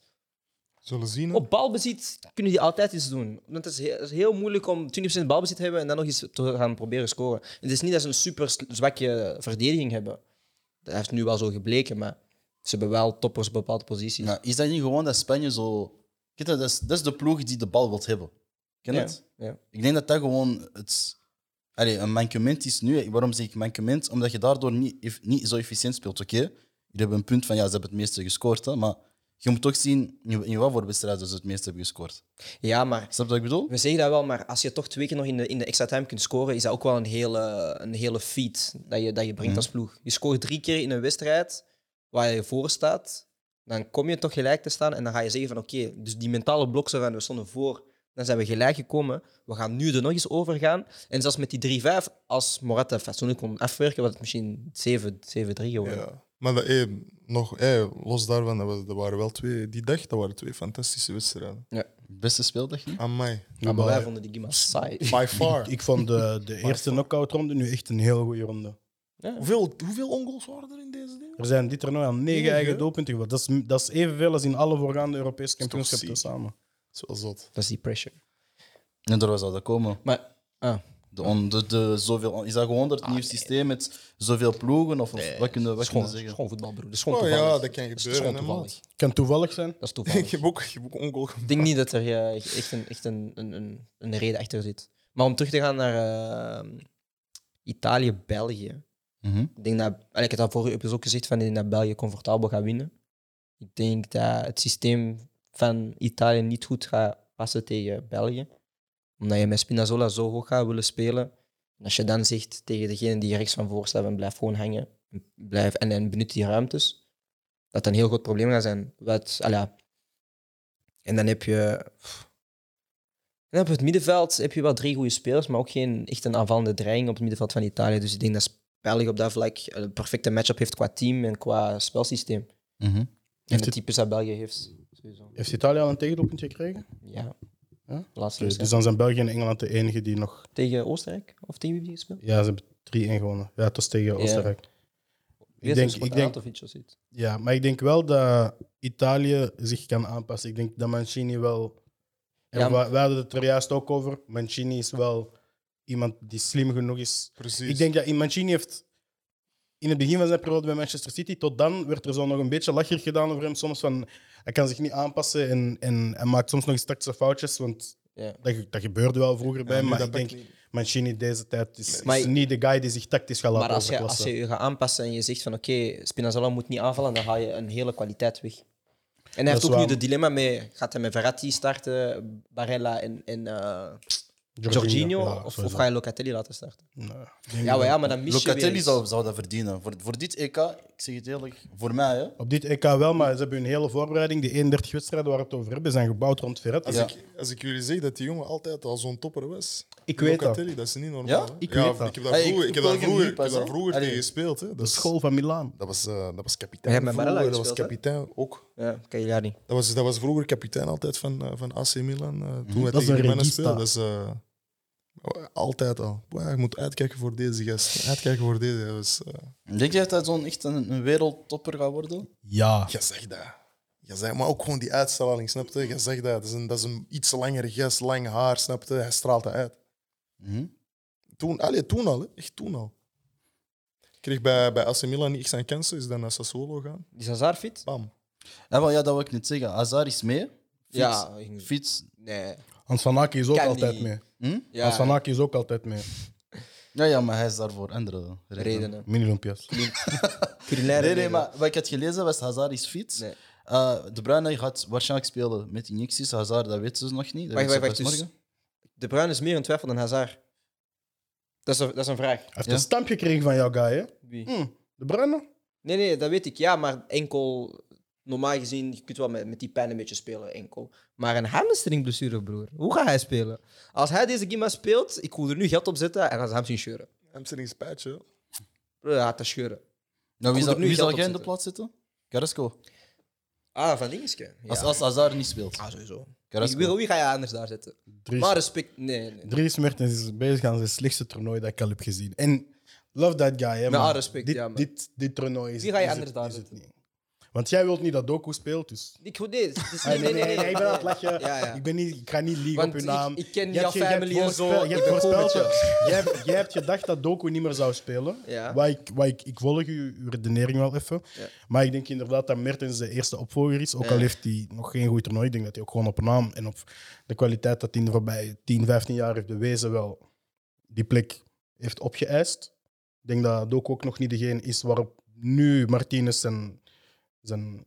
A: Zullen zien. hè.
B: op balbezit kunnen die altijd iets doen. Want het is heel, het is heel moeilijk om 20% balbezit te hebben en dan nog eens te gaan proberen scoren. Het is niet dat ze een super s- zwakke verdediging hebben. Dat heeft nu wel zo gebleken, maar ze hebben wel toppers op bepaalde posities.
D: Ja, is dat niet gewoon dat Spanje zo... Kijk, dat is, dat is de ploeg die de bal wilt hebben. Ken je
B: Ja,
D: het?
B: ja.
D: Ik denk dat dat gewoon het, allee, een mankement is nu. Waarom zeg ik mankement? Omdat je daardoor niet, eff- niet zo efficiënt speelt. Oké, jullie hebben een punt van ja, ze hebben het meeste gescoord. Hè, maar je moet ook zien in, in wat voor wedstrijden ze het meeste hebben gescoord.
B: ja, maar
D: Snap je wat ik bedoel?
B: We zeggen dat wel, maar als je toch twee keer nog in de, in de extra time kunt scoren, is dat ook wel een hele, een hele feat dat je, dat je
A: Mhm.
B: brengt als ploeg. Je scoort drie keer in een wedstrijd waar je voor staat, dan kom je toch gelijk te staan en dan ga je zeggen van oké, dus die mentale blok zo van we stonden voor, dan zijn we gelijk gekomen, we gaan nu er nog eens over gaan. En zelfs met die 3-5, als Morata fatsoenlijk kon afwerken, was het misschien 7-3 geworden.
A: Ja. Maar dat, eh, nog, eh, los daarvan, dat, was- dat waren wel twee, die dag, dat waren twee fantastische wedstrijden.
D: Beste speeldag niet?
A: Amai.
B: Ja, maar wij
C: Maar
B: vonden die Gima saai.
A: By far.
C: Ik vond de, de eerste knockout ronde nu echt een heel goede ronde.
A: hoeveel, hoeveel ongoals waren er in deze dingen?
C: Er zijn dit toernooi al negen
A: Negen?
C: eigen doelpunten geworden. Dat is, dat is evenveel als in alle voorgaande Europese
A: toch
C: kampioenschappen
A: ziek.
C: samen.
A: Dat is wel zot.
B: Dat is die pressure.
D: En daar was dat komen.
B: Maar ah,
D: De, on- de, de, zoveel, on- is dat gewoon dat nieuw systeem met zoveel ploegen? Of, of wat kunnen we
B: dat is gewoon,
D: zeggen?
B: dat is gewoon voetbal, broer. Dat is gewoon
A: Oh
B: toevallig.
A: ja, dat kan
B: is
A: gebeuren,
B: gewoon
A: hè,
B: toevallig.
A: maat.
C: Kan toevallig zijn.
B: Dat is
A: Ik
B: toevallig.
A: heb ook, ik heb ook ongoal gemaakt.
B: Ik denk niet dat er eh, echt, een, echt een, een, een, een reden achter zit. Maar om terug te gaan naar eh, Italië-België.
D: Mhm.
B: Ik denk dat, en ik heb dat vorige episode ook gezegd, van ik denk dat België comfortabel gaat winnen. Ik denk dat het systeem van Italië niet goed gaat passen tegen België. Omdat je met Spinazzola zo hoog gaat willen spelen. En als je dan zegt tegen degene die rechts van voor staat en blijf gewoon hangen en, blijf, en, en benut die ruimtes, dat dat een heel groot probleem gaat zijn. Wat, ah ja. En dan heb je... pff. En op het middenveld heb je wel drie goede spelers, maar ook geen echt een aanvallende dreiging op het middenveld van Italië. Dus ik denk dat België op dat vlak een perfecte matchup heeft qua team en qua spelsysteem.
D: Mhm.
B: En
C: Heeft
B: de
C: het-
B: types dat België heeft. Sowieso.
C: Heeft Italië al een tegendoelpunt gekregen?
B: Ja.
C: Ja?
B: De Laatste
C: Dus,
B: wedstrijd.
C: dan zijn België en Engeland de enigen die nog...
B: Tegen Oostenrijk? Of tegen wie gespeeld?
C: Ja, ze hebben 3-1 gewonnen. Ja, het was tegen
B: Ja.
C: Oostenrijk.
B: Wie
C: Ik
B: heeft
C: denk,
B: gespeeld?
C: ik denk,
B: Arnautovic of zoiets.
C: ja, maar ik denk wel dat Italië zich kan aanpassen. Ik denk dat Mancini wel... en
B: Ja,
C: we, we hadden het er juist ook over. Mancini is wel iemand die slim genoeg is
A: Precies.
C: Ik denk dat in- Mancini heeft in het begin van zijn periode bij Manchester City, tot dan werd er zo nog een beetje lacherig gedaan over hem. Soms van hij kan zich niet aanpassen en, en hij maakt soms nog eens tactische foutjes. Want
B: Ja.
C: dat, ge- dat gebeurde wel vroeger bij
A: Ja,
C: hem.
A: nu
C: Maar
A: dat
C: ik
A: pakt
C: denk,
A: niet.
C: Mancini deze tijd is,
B: Maar-
C: is niet de guy die zich tactisch gaat laten
B: Maar als je, als
C: overklassen.
B: je je gaat aanpassen en je zegt van oké, Spinazzola moet niet aanvallen, dan haal je een hele kwaliteit weg. En hij
C: Dat
B: heeft
C: is
B: ook nu
C: waar.
B: de dilemma mee, gaat hij met Verratti starten, Barella en, en eh, Jorginho,
C: ja,
B: of, of
C: sowieso.
B: ga je Locatelli laten starten?
C: Nee, ik denk
B: Ja,
C: dat-
B: maar, ja, maar dan mis je weer
D: Locatelli
B: iets.
D: zou, zou dat verdienen. Voor, voor dit EK, ik zeg het eerlijk, voor mij, hè,
C: Op dit EK wel, maar ze hebben hun hele voorbereiding, die 31 wedstrijden waar we het over hebben, zijn gebouwd rond Verratti.
A: Als,
C: Ja.
A: ik, als ik jullie zeg dat die jongen altijd al zo'n topper was.
C: Ik weet dat.
A: Locatelli, dat is niet normaal.
D: Ja?
A: hè?
C: Ik weet dat.
A: Ik heb daar
D: Hey, ik-
A: vroeger, ik heb
D: ik
A: daar
D: volg hem
A: vroeger,
D: nu
A: ik
D: pas,
A: heb daar
D: hè?
A: vroeger tegen
D: Allee.
A: gespeeld. Hè.
C: De
A: Dat, is-
C: school van Milaan.
A: dat, was, eh, dat was
B: Maar jij
A: kapitein.
B: hebt met Barella
A: vroeger, dat was
B: gespeeld, hè?
A: kapitein ook.
B: Ja, Cagliari.
A: Dat was, dat was vroeger kapitein altijd van, eh, van AC Milan. eh, toen wij
C: Mhm. Dat is
A: tegen die
C: een
A: mannen
C: regista.
A: speelden. Dat is eh, altijd al. Boah, je moet uitkijken voor deze gast. Uitkijken voor deze. Dat was, eh,
D: Denk jij dat hij zo'n echt een, een wereldtopper gaat worden?
C: Ja.
A: je zegt dat. Je zegt, maar ook gewoon die uitstraling, snap je? Je zegt dat. Dat is een, dat is een iets langere gast, lang haar, snap je? Hij straalt dat uit.
D: Mhm.
A: Toen, allee, toen al, hè. echt toen al. Ik kreeg bij, bij AC Milan niet echt zijn kansen, is dan naar Sassuolo gaan.
B: Is Hazard fit?
A: Bam.
D: Ja, wel, ja, dat wil ik niet zeggen. Hazard is mee. Fiets.
B: Ja, ik denk-
D: Fiets.
B: nee.
C: Hans van Aken is ook
B: Kan
C: altijd
B: niet.
C: mee.
D: Hm?
B: Ja,
C: Hans van Aken is ook altijd mee.
D: Ja, ja, maar hij is daar voor andere redenen.
B: redenen.
C: Mini-lumpias.
B: Culinaire
D: Nee, nee,
B: redenen.
D: maar wat ik had gelezen was Hazard is fit.
B: Nee.
D: Eh, de Bruyne gaat waarschijnlijk spelen met injecties. Hazard, dat weten ze nog niet. Dat
B: Wacht, wacht,
D: weten
B: wacht.
D: ze pas
B: Dus
D: morgen.
B: de Bruin is meer in twijfel dan Hazard. Dat is een, dat is een vraag.
C: Hij heeft
D: Ja.
C: een stamp gekregen van jouw guy, hè?
B: Wie?
C: Hm, de Bruine?
B: Nee, nee, dat weet ik. Ja, maar enkel... Normaal gezien, je kunt wel met, met die pijn een beetje spelen, enkel. Maar een hamstringblessure, broer. Hoe gaat hij spelen? Als hij deze Gima speelt, ik wil er nu geld op zetten en gaan ze hamstring scheuren.
A: Hamstring spijtje. hè.
B: Broer, hij gaat dat scheuren.
D: Nou, wie
B: Komt
D: zal,
B: er nu
D: wie zal
B: geld
D: jij in
B: op
D: de plaats zitten? Carrasco.
B: Ah, van dingetje. Ja.
D: Als, als Hazard niet speelt.
B: Ah, sowieso.
D: Carrasco.
B: Wie, wie ga je anders daar zetten?
C: Dries,
B: Maar respect... Nee, nee. nee.
C: Dries Mertens is bezig aan zijn slechtste toernooi dat ik al heb gezien. En love that guy, hè?
B: Met
C: maar
B: alle respect,
C: dit,
B: ja, maar-
C: dit, dit toernooi is
B: Wie ga je
C: is
B: anders
C: het-
B: daar
C: is het
B: zetten?
C: niet. Want jij wilt niet dat Doku speelt, dus...
B: Ik goed dit. Het is
C: Nee,
B: niet-
C: nee, nee, ik ben aan het lachen.
B: Ja, ja.
C: Ik, ben niet, ik ga niet liegen
B: Want
C: op je
B: ik-
C: naam.
B: ik ken
C: Jij hebt
B: jouw
C: ge- jij hebt
B: family en
C: voorspel-
B: zo.
C: Je
B: Ik
C: hebt
B: ben cool
C: voorspeld.
B: met
C: Jij hebt, jij hebt gedacht dat Doku niet meer zou spelen.
B: Ja.
C: Waar ik, waar ik, ik volg uw, uw redenering wel even.
B: Ja.
C: Maar ik denk inderdaad dat Mertens de eerste opvolger is. Ook al
B: Ja.
C: heeft hij nog geen goed toernooi. Ik denk dat hij ook gewoon op naam en op de kwaliteit dat hij in de voorbije 10, 15 jaar heeft bewezen wel die plek heeft opgeëist. Ik denk dat Doku ook nog niet degene is waarop nu Martinez zijn, zijn,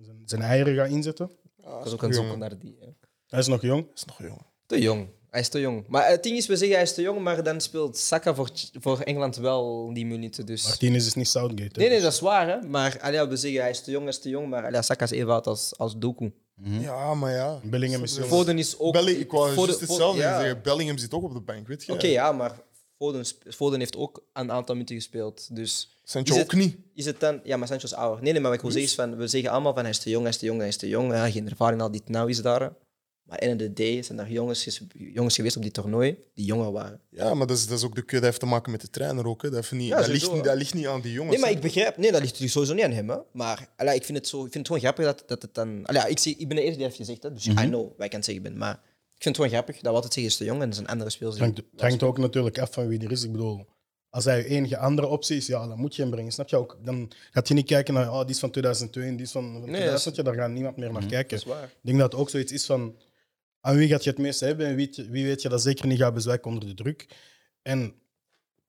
C: zijn, zijn eieren gaat inzetten.
A: Ja,
B: Ik was ook aan
A: jongen.
B: het zoeken naar die. hè.
C: Hij is nog jong.
A: Dat is nog jong.
B: Te jong. Hij is te jong. Maar het ding is, we zeggen hij is te jong, maar dan speelt Saka voor, voor Engeland wel die minuten. Dus.
C: Martinez is niet Southgate. hè?
B: Nee, nee, dat is waar. Hè? Maar allee, we zeggen hij is te jong, hij is te jong, maar allee, Saka is even oud als, als Doku.
A: Ja, maar ja.
C: Mhm. Bellingham is jong.
B: Foden is ook...
A: Belli- ik wou
B: Foden-
A: juist
B: Foden-
A: hetzelfde
B: ja.
A: zeggen. Bellingham zit ook op de bank, weet je?
B: Oké, ja, maar Foden, sp- Foden heeft ook een aantal minuten gespeeld. Dus
A: Sancho
B: Is het-
A: ook niet.
B: Is het dan... Ja, maar Sancho is ouder. Nee, nee, maar wat ik wil zeggen is van... We zeggen allemaal van hij is te jong, hij is te jong, hij is te jong. Ja, geen ervaring al dit nou is daar. Maar in de day zijn er jongens, ges- jongens geweest op die toernooi die jonger waren.
A: Ja, maar dat is, dat is ook de kut. Dat heeft te maken met de trainer ook. Hè. Dat, heeft niet,
B: Ja,
A: dat,
B: sowieso,
A: ligt, niet-
B: hè.
A: dat ligt niet aan die jongens.
B: Nee, maar
A: hè.
B: ik begrijp... Nee, dat ligt natuurlijk sowieso niet aan hem. Hè. Maar allee, ik, vind het zo, ik vind het gewoon grappig dat, dat het dan... Allee, ja, ik, zie, ik ben de eerste die heeft gezegd, hè, dus I know wat ik aan het zeggen ben. Maar ik vind het gewoon grappig dat we altijd zeggen, hij is te jong en dat is een andere speler.
C: Het hangt, het hangt ook natuurlijk af van wie er is. Ik bedoel, als hij je enige andere optie is, ja, dan moet je hem brengen. Snap je ook? Dan gaat je niet kijken naar, oh, die is van 2002 en die is van van
B: ja,
C: 2000. Ja, daar gaat niemand meer naar kijken.
B: Dat is waar.
C: Ik denk dat het ook zoiets is van aan wie gaat je het meeste hebben en wie, wie weet je dat zeker niet gaat bezwijken onder de druk. En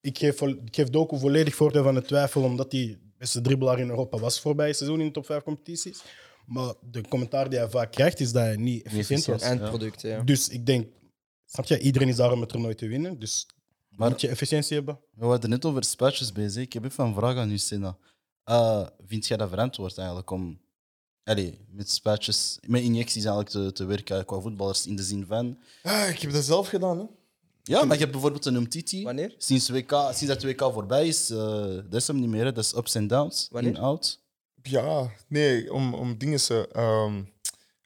C: ik geef, vol- ik geef Doku volledig voordeel van de twijfel, omdat hij beste dribbelaar in Europa was voorbij seizoen in de top 5 competities. Maar de commentaar die hij vaak krijgt is dat hij niet efficiënt was.
D: efficiënt, ja.
B: Eindproduct, ja.
C: Dus ik denk, snap je, iedereen is daar om het toernooi te winnen. Dus
D: Maar-
C: moet je efficiëntie hebben.
D: We hadden net over spuitjes bezig. Ik heb even een vraag aan u, Sina. Eh, vind jij dat verantwoord eigenlijk om allee, met spuitjes, met injecties eigenlijk te, te werken qua voetballers in de zin van...
A: Ah, ik heb dat zelf gedaan. Hè.
D: Ja, maar je hebt bijvoorbeeld een Umtiti.
B: Wanneer?
D: Sinds, WK, sinds dat WK voorbij is, eh, dat is hem niet meer. hè. Dat is ups en downs,
B: Wanneer?
D: in-out.
A: Ja, nee, om, om dingen. ze, ehm,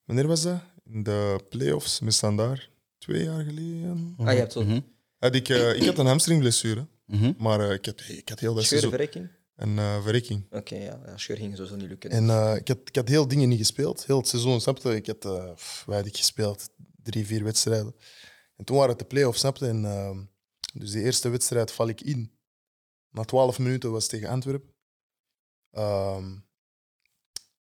A: wanneer was dat? In de playoffs, we staan daar. Twee jaar geleden.
B: Ah, je hebt zo'n
A: Had ik, eh, ik had een hamstringblessure,
D: Mhm.
A: maar eh, ik, had, ik had heel dat seizoen
B: scheurverrekking.
A: een eh verrekking.
B: Oké, ja. ja. Scheur ging sowieso niet lukken.
A: En eh, ik, had, ik had heel dingen niet gespeeld, heel het seizoen, snap je? Ik had, eh pff, wat had ik gespeeld? Drie, vier wedstrijden. En toen waren het de play-offs, snap je? En, ehm, dus die eerste wedstrijd val ik in. Na twaalf minuten was het tegen Antwerpen. Ehm,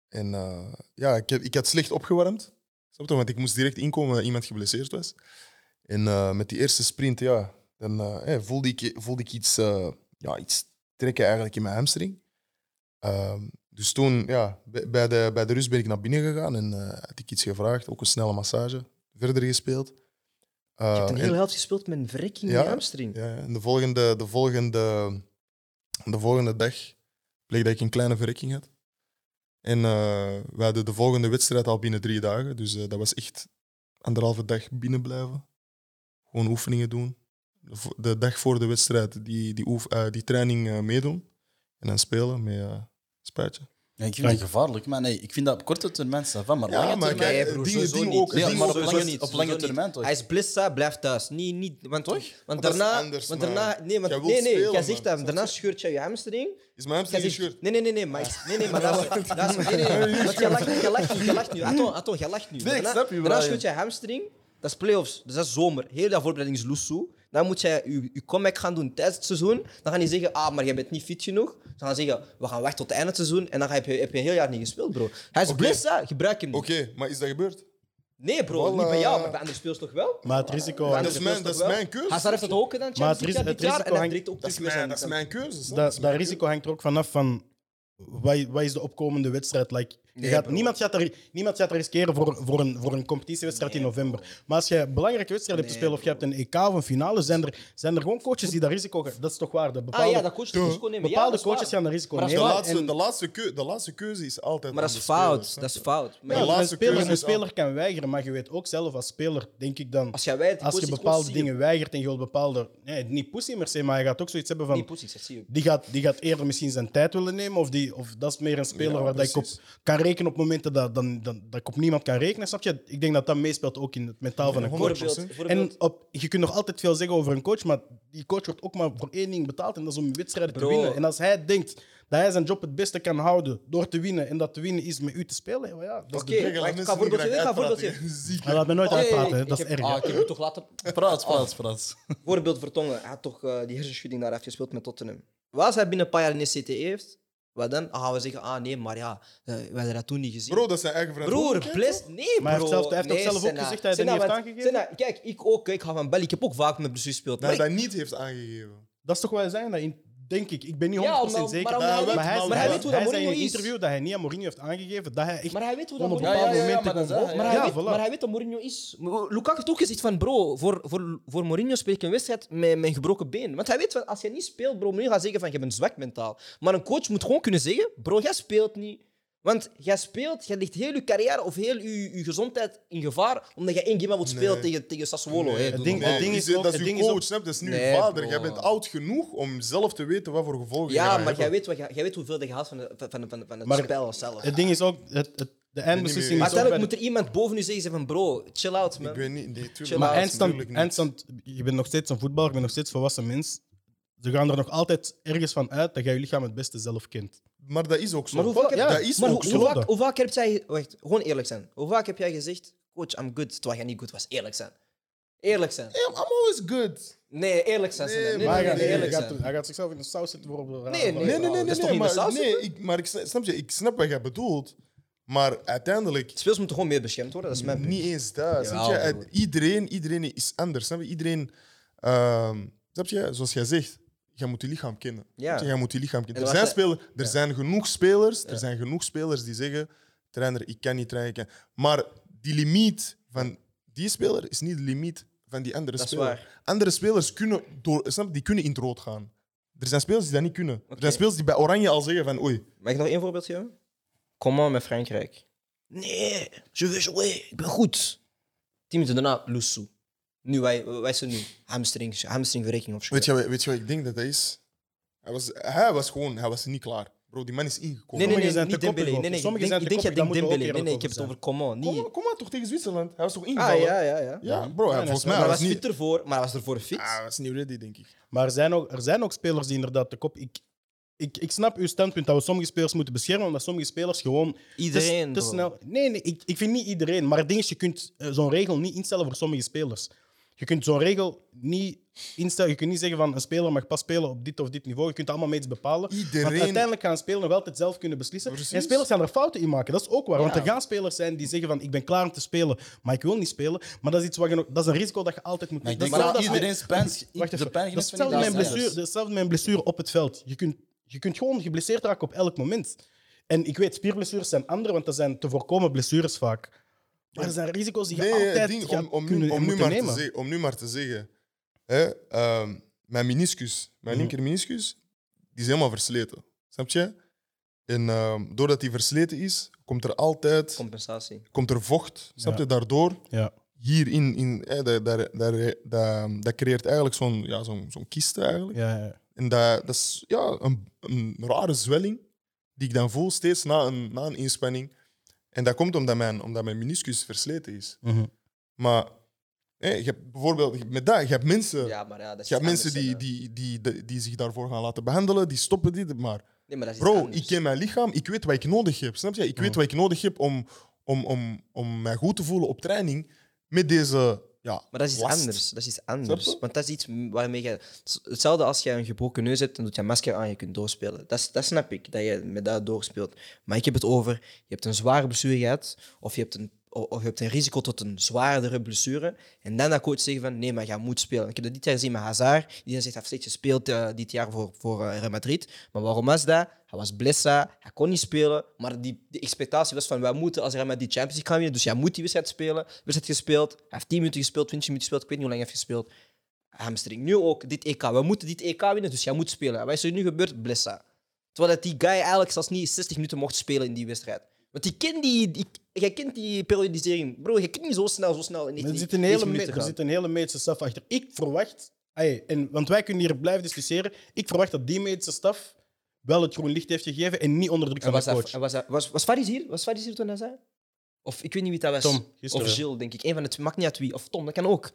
A: en eh, ja, ik, heb- ik had slecht opgewarmd, snap je? Want ik moest direct inkomen, iemand geblesseerd was. En eh, met die eerste sprint, ja, dan eh, eh, voelde, ik, voelde ik iets, eh, ja, iets trekken eigenlijk in mijn hamstring. Ehm, dus toen, ja, bij- bij de, bij de rust ben ik naar binnen gegaan en eh, had ik iets gevraagd, ook een snelle massage, verder gespeeld.
B: je
A: Eh,
B: hebt een
A: en-
B: hele helft gespeeld met een verrekking
A: Ja,
B: in je hamstring.
A: ja, ja. en de volgende, de volgende, de volgende dag bleek dat ik een kleine verrekking had. En eh we hadden de volgende wedstrijd al binnen drie dagen. Dus eh, dat was echt anderhalve dag binnen blijven. Gewoon oefeningen doen. De, vo- de dag voor de wedstrijd die, die, oef- eh, die training eh, meedoen. En dan spelen met eh spuitje.
D: Ja, ik vind dat gevaarlijk, maar nee, ik vind dat op korte termijn ça va, maar
A: Ja,
D: lange
A: maar
D: termijn...
A: kijk,
B: Nee, broer,
A: dingen-
B: sowieso
A: dingen
B: niet.
A: ook-
D: Nee,
A: dingen
D: maar
A: ook-
D: op
B: sowieso
D: lange,
B: niet,
D: op lange
B: sowieso
D: termijn toch?
B: Hij is blissa, blijf thuis. Niet, niet, want,
A: Toch?
B: Want
A: Want dat is
B: daarna,
A: anders,
B: want
A: man.
B: daarna, nee, want,
A: Jij wilt
B: nee, nee,
A: spelen,
B: jij
A: man.
B: zegt dat.
A: Snap
B: Daarna
A: je?
B: scheurt je je hamstring.
A: Is mijn
B: Jij
A: hamstring
B: zegt-
A: gescheurd?
B: Nee, nee, nee, nee, maar, ik- nee, nee, maar dat is, dat is, nee, nee, want jij lacht, jij lacht, nu, jij lacht nu. Atton, Atton, jij lacht nu.
D: Nee, ik
B: Daarna-
D: snap je,
B: Daarna
D: Brian.
B: scheurt je hamstring, dat is playoffs, dus dat is zomer. Heel dat voorbereiding is loesoe. Dan moet jij je, je comeback gaan doen tijdens het seizoen. Dan gaan die zeggen, ah, maar jij bent niet fit genoeg. Ze gaan zeggen, we gaan wachten tot het einde van het seizoen. En dan heb je, heb je een heel jaar niet gespeeld, bro. Hij is
A: Oké.
B: blessa, gebruik hem niet.
A: Oké, maar is dat gebeurd?
B: Nee, bro,
A: Wel,
B: niet bij jou,
A: eh,
B: maar bij andere speels toch wel?
C: Maar het risico,
B: Bij andere
A: is
C: dat,
A: mijn-
B: speels toch
A: dat is
B: wel?
A: mijn keuze.
B: Hazard heeft het ook gedaan, Champions
C: het ris-
B: League
C: het
B: dit jaar. En
C: risico
B: hij
C: hangt-
B: direct op
A: Dat
B: terug
A: is
B: weer
A: mijn,
B: zijn
A: dat is
B: kant.
A: mijn keuze. snap je?
C: dat,
A: is mijn
C: risico hangt er ook vanaf van wat, wat is de opkomende wedstrijd. Like, je
B: Nee,
C: gaat,
B: bro.
C: niemand, gaat er, niemand gaat er riskeren voor, voor, een, voor een competitiewedstrijd in november. Maar als je een belangrijke wedstrijd hebt
B: Nee,
C: gespeeld of je hebt een EK of een finale, zijn er, zijn er gewoon coaches die dat risico gaan. Dat is toch waar? Dat bepaalde
B: Ah ja, dat coach het risico nemen. Ja,
C: bepaalde
B: dat is
C: coaches
B: waar.
C: gaan dat risico
B: Maar dat is
A: De
C: nemen.
B: wel-
A: laatste,
B: en-
A: de, laatste keu- de laatste keuze is altijd.
B: Maar dat
A: aan
B: is
A: de speler,
B: fout.
A: snap
B: Dat is
A: je?
B: fout. Maar
C: Ja,
A: de
B: je-
C: maar een
A: laatste
C: speler,
A: keuze
C: een
A: is wel-
C: speler kan weigeren, maar je weet ook zelf als speler, denk ik dan.
B: Als jij wij
C: Als je bepaalde dingen weigert en je wilt bepaalde. Nee, niet pussy per se, maar je gaat ook zoiets hebben
B: Niet
C: van.
B: positie, zie je.
C: Die gaat, die gaat eerder misschien zijn tijd willen nemen. Of, die, of dat is meer een speler
A: Ja,
C: waar dat ik op
A: precies.
C: kan rekenen op momenten dat, dan, dan, dat ik op niemand kan rekenen. Snap je? Ik denk dat dat meespeelt ook in het mentaal van een coach.
A: 100%.
B: Voorbeeld, voorbeeld.
C: En op, je kunt nog altijd veel zeggen over een coach, maar die coach wordt ook maar voor één ding betaald en dat is om wedstrijden te
B: Bro.
C: winnen. En als hij denkt dat hij zijn job het beste kan houden door te winnen en dat te winnen is met u te spelen, ja, dat is
B: Oké,
C: de
A: Kijk, laat
B: maar ik
A: mensen
B: ga
A: niet
B: voorbeeld-
A: graag
B: ik ga
A: uitpraten,
B: voorbeeld-
A: hè. Ziek.
C: Hij laat me nooit
B: Hey,
C: uitpraten, hè. dat is
B: ik heb-
C: erg.
B: Ah,
C: hè.
B: ik heb je toch laten...
D: Praat, praat, praat.
B: Voorbeeld Vertongen. Hij had toch eh, die hersenschudding daar heeft gespeeld met Tottenham. Was hij binnen een paar jaar in de CTE heeft, wat dan? Dan gaan we zeggen, ah nee, maar ja, eh, we hadden dat toen niet gezien.
A: Bro, dat is zijn eigen
B: Broer,
A: verantwoordelijkheid.
B: bless. Nee, bro.
C: Maar hij heeft zelf- hij heeft
B: nee,
C: ook zelf ook
B: Senna.
C: gezegd dat hij
B: Senna,
C: dat niet heeft
B: want-
C: aangegeven.
B: Senna, kijk, ik ook. Ik ga van bellen. Ik heb ook vaak met blessures gespeeld.
A: Dat hij
B: maar
A: dat niet heeft aangegeven.
C: Dat is toch wat hij zei? Dat in, denk ik. Ik ben niet 100%
B: Ja, maar-
C: zeker.
B: maar- maar-
A: maar-
C: hij,
A: maar hij
B: weet hoe dat
C: hij zei in een
B: Mourinho is.
C: interview dat hij niet aan Mourinho heeft aangegeven dat hij echt
B: ik- maar hij weet hoe dat
C: onder
B: moet.
C: bepaalde
D: Ja, ja, ja, ja,
C: momenten
D: maar dat
C: kon
D: is hij,
C: boven-
B: Maar,
C: ja,
B: hij weet,
C: voilà.
B: maar hij weet dat Mourinho is. Lukaku heeft ook gezegd van bro, voor, voor, voor Mourinho speel ik een wedstrijd met mijn gebroken been. Want hij weet van als je niet speelt, bro, Mourinho gaat zeggen van je bent zwak mentaal. Maar een coach moet gewoon kunnen zeggen, bro, jij speelt niet. Want jij speelt, jij legt heel je carrière of heel je, je gezondheid in gevaar omdat jij één game moet spelen
A: Nee.
B: tegen, tegen Sassuolo.
A: Nee,
B: hè.
A: doe
B: Doe
C: ding-
B: normaal.
C: het ding is
A: die-
C: ook-
A: dat is
C: het
A: uw
C: ding is
A: coach,
C: ook-
A: snap je? Dat is nu
B: Nee,
A: uw vader.
B: bro.
A: Jij bent oud genoeg om zelf te weten wat voor gevolgen
B: ja,
A: gaat
B: maar jij
A: hebben.
B: weet, wat, jij, jij weet hoeveel je haalt van, de- van, van, van, van het
C: Maar-
B: spel zelf.
C: Het ding is ook, het, het, de eindbeslissing
B: maar
C: is ook bij
B: uiteindelijk
C: de-
B: moet er iemand boven u zeggen ze van bro, chill out man.
A: Ik weet niet. Nee, tuurlijk,
B: Maar
C: Maar
A: niet,
C: eindstand,
A: tuurlijk niet.
C: eindstand, je bent nog steeds een voetballer, je bent nog steeds een volwassen mens. Ze gaan er nog altijd ergens van uit dat jij je lichaam het beste zelf kent.
A: Maar dat is ook zo.
B: Maar hoe vaak, heb,
A: ja, dat is
B: maar
A: ook
B: hoe,
A: zo.
B: hoe vaak,
C: Klopt.
B: hoe vaak heb jij... Wacht, gewoon eerlijk zijn. Hoe vaak heb jij gezegd, coach, I'm good, terwijl jij niet goed was? Eerlijk zijn. Eerlijk zijn.
A: I'm always good.
B: Nee, eerlijk zijn.
A: Nee,
B: Nee, nee, nee,
A: maar
C: hij,
B: nee,
C: gaat,
A: nee,
B: eerlijk
A: nee,
C: hij, gaat,
B: zijn.
C: hij gaat zichzelf in de saus zitten voor op de
B: Nee, nee,
A: Nee, nee, nee,
B: Dat
A: nee.
B: is toch
A: nee,
B: niet
A: maar
B: de saus?
A: nee, ik, maar ik snap, snap je, ik snap wat jij bedoelt. Maar uiteindelijk,
B: Spelers moeten gewoon meer beschermd worden, dat is mijn punt.
A: niet eens dat. snap
B: Jawel,
A: je?
B: broer.
A: Het- Iedereen, iedereen is anders. Snap je? Iedereen, ehm, snap je? Zoals jij zegt, jij moet je lichaam kennen.
B: Ja.
A: Snap je? Jij moet je lichaam kennen.
B: En
A: Er,
B: wat
A: zijn,
B: zij-
A: spelers, er zijn genoeg spelers, er zijn genoeg spelers die zeggen, trainer, ik kan niet trainen. ik kan-" Maar die limiet van die speler is niet de limiet van die andere
B: Dat is
A: speler.
B: waar.
A: Andere spelers kunnen, door, snap, je? die kunnen in het rood gaan. Er zijn spelers die dat niet kunnen. Er
B: Oké.
A: zijn spelers die bij Oranje al zeggen van oei,
B: Mag ik nog één voorbeeld geven? Coman met Frankrijk. Nee, je veux jouer, ik ben goed. Tien minuten daarna, Lussou. Nu, wij, wij zijn nu hamstring, hamstringverrekening of zo.
A: Weet je, wat- weet je wat ik denk dat dat is? Hij was, hij was gewoon hij was niet klaar. Bro, die man is ingekomen.
B: Nee, nee, nee,
C: Sommigen zijn
B: niet
C: te koppig
B: Dembele. Nee,
C: ook.
B: nee, ik
C: Sommigen
B: denk-
C: zijn
B: ik
C: te
B: denk, jij
C: koppig, daar
B: denkt
C: moeten we
B: Dembele.
C: ook
B: Nee, nee, ik
C: eerlijk
B: heb het over
C: over
B: Coman.
A: Kom,
B: Niet...
A: maar- kom maar toch tegen Zwitserland. Hij was toch
B: Ah,
A: ingevallen?
B: ja, ja, ja.
A: Ja, bro, hij-
C: Ja,
A: volgens
C: dat
A: mij
B: Maar
C: is
A: hij
B: hij
A: was
B: was
A: niet...
B: fit ervoor, maar hij was ervoor fit.
A: Ah, hij was niet ready, denk ik.
C: Maar er zijn, ook, er zijn ook spelers die inderdaad de kop... Ik, ik, ik snap uw standpunt dat we sommige spelers moeten beschermen, omdat sommige spelers gewoon
B: Iedereen,
C: te, te
B: bro.
C: snel... Nee, nee ik, ik vind niet iedereen. Maar het ding is, je kunt eh, zo'n regel niet instellen voor sommige spelers. Je kunt zo'n regel niet instellen. Je kunt niet zeggen van een speler mag pas spelen op dit of dit niveau. Je kunt allemaal mee iets bepalen. Want
A: Iedereen-
C: uiteindelijk gaan spelers nog altijd zelf kunnen beslissen.
A: Precies.
C: En spelers gaan er fouten in maken. Dat is ook waar. Want
B: Ja.
C: er gaan spelers zijn die zeggen van ik ben klaar om te spelen, maar ik wil niet spelen. Maar dat is, iets wat je nog, dat is een risico dat je altijd moet
D: Maar ik
C: dat
D: denk
C: is
D: dat
C: hetzelfde als-
D: iedereen spijt.
C: Wacht even.
D: De pijn
C: dat is hetzelfde met, een blessure, dat is hetzelfde met een blessure op het veld. Je kunt, je kunt gewoon geblesseerd raken op elk moment. En ik weet, spierblessures zijn andere, want dat zijn te voorkomen blessures vaak. Maar er zijn risico's die je
A: Nee, het
C: altijd
A: ding,
C: gaat
A: om, om, nu,
C: kunnen
A: om,
C: en
A: nu
C: moeten
A: maar te
C: nemen.
A: zeggen, om nu maar te zeggen. Hè, ehm, mijn meniscus, mijn linker meniscus, die is helemaal versleten. Snap je? En ehm, doordat die versleten is, komt er altijd
B: Compensatie.
A: komt er vocht. Snap
C: Ja.
A: je? Daardoor
C: Ja.
A: hierin, in, eh, daar, daar, daar, daar- dat creëert eigenlijk zo'n ja, zo'n zo'n kiste eigenlijk.
C: Ja, ja, ja.
A: En dat, dat is ja, een, een rare zwelling die ik dan voel steeds na een, na een inspanning. En dat komt omdat mijn, omdat mijn meniscus versleten is.
C: Mhm.
A: Maar eh, je hebt bijvoorbeeld met dat, je hebt mensen,
B: Ja, maar ja, dat is
A: je hebt
B: iets
A: mensen
B: anders,
A: die,
B: hè.
A: die, die, die, die zich daarvoor gaan laten behandelen, die stoppen dit. Maar
B: Nee, maar dat is iets
A: bro,
B: anders. Mm.
A: ik ken mijn lichaam, ik weet wat ik nodig heb. Snap je? Ik weet wat ik nodig heb om, om, om, om mij goed te voelen op training met deze. Ja,
B: Maar dat is iets
A: last.
B: anders. Dat is iets
A: Snap
B: anders.
A: je?
B: Want dat is iets waarmee je. Hetzelfde als je een gebroken neus hebt, dan doet je een masker aan je kunt doorspelen. Dat, is- dat snap ik, dat je met dat doorspeelt. Maar ik heb het over: je hebt een zware blessure gehad, of je hebt een, of of je hebt een risico tot een zwaardere blessure. En dan dat coach zeggen van nee, maar jij moet spelen. Ik heb dat dit jaar gezien met Hazard, die dan zegt: hij heeft steeds gespeeld eh, dit jaar voor, voor eh, Real Madrid. Maar waarom was dat? Hij was blessa, hij kon niet spelen. Maar die, die expectatie was van wij moeten als Real Madrid Champions League gaan winnen. Dus jij moet die wedstrijd spelen. Wedstrijd gespeeld. Hij heeft 10 minuten gespeeld, 20 minuten gespeeld. Ik weet niet hoe lang hij heeft gespeeld. Hamstring. Nu ook dit EK. We moeten dit EK winnen, dus jij moet spelen. En Wat is er nu gebeurd? Blessa. Terwijl dat die guy eigenlijk zelfs niet 60 minuten mocht spelen in die wedstrijd. Want die kent die, die, jij kent die periodisering. Bro, je kunt niet zo snel, zo snel in 19
C: Er zit een hele,
B: 19
C: me-
B: minuten
C: er
B: gaan.
C: zit een hele medische staf achter. Ik verwacht, Ai, en, want wij kunnen hier blijven discussiëren. Ik verwacht dat die medische staf wel het groen licht heeft gegeven en niet onder
B: En
C: druk van
B: was,
C: de coach.
B: dat, en was, dat, was, was Faris hier? Was Faris hier toen hij zei? Of ik weet niet wie dat was.
C: Tom, gisteren.
B: Of Gilles, denk ik. Een van de twee. Maakt niet uit wie. Of Tom, dat kan ook.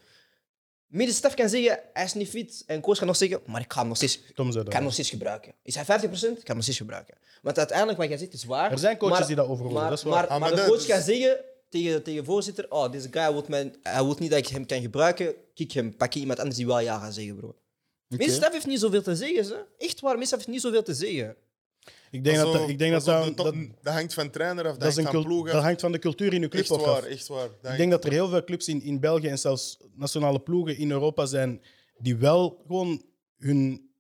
B: Middenstaf kan zeggen, hij is niet fit. En coach kan nog zeggen, maar ik ga hem nog steeds, ik
C: Tom zei
B: kan
C: dat.
B: hem nog steeds gebruiken. Is hij 50%? Ik kan hem nog steeds gebruiken. Want uiteindelijk, wat jij zegt, is waar.
C: Er zijn coaches
B: maar-
C: die dat overhoren,
B: Maar,
C: dat is waar.
B: maar,
A: Ah, maar
B: maar de
A: dat-
B: coach kan zeggen tegen, tegen voorzitter, oh, deze guy wil, mijn, hij wil niet dat ik hem kan gebruiken. Kijk hem, pak je iemand anders die wel ja gaat zeggen, bro. Middenstaf heeft niet zoveel te zeggen, ze. Echt waar, middenstaf heeft niet zoveel te zeggen.
C: Ik denk dat,
A: Alsof-
C: dat- ik denk dat,
A: alsof
C: dat,
A: de top-
C: dat,
A: dat hangt van trainer af, dat,
C: dat, is een
A: hangt van
C: cul-
A: ploeg
C: dat
A: af.
C: hangt van de cultuur in uw club
A: Echt
C: ook
A: waar,
C: af.
A: echt waar. Dat
C: Ik
A: hangt-
C: denk dat er heel veel clubs in, in België en zelfs nationale ploegen in Europa zijn die wel gewoon hun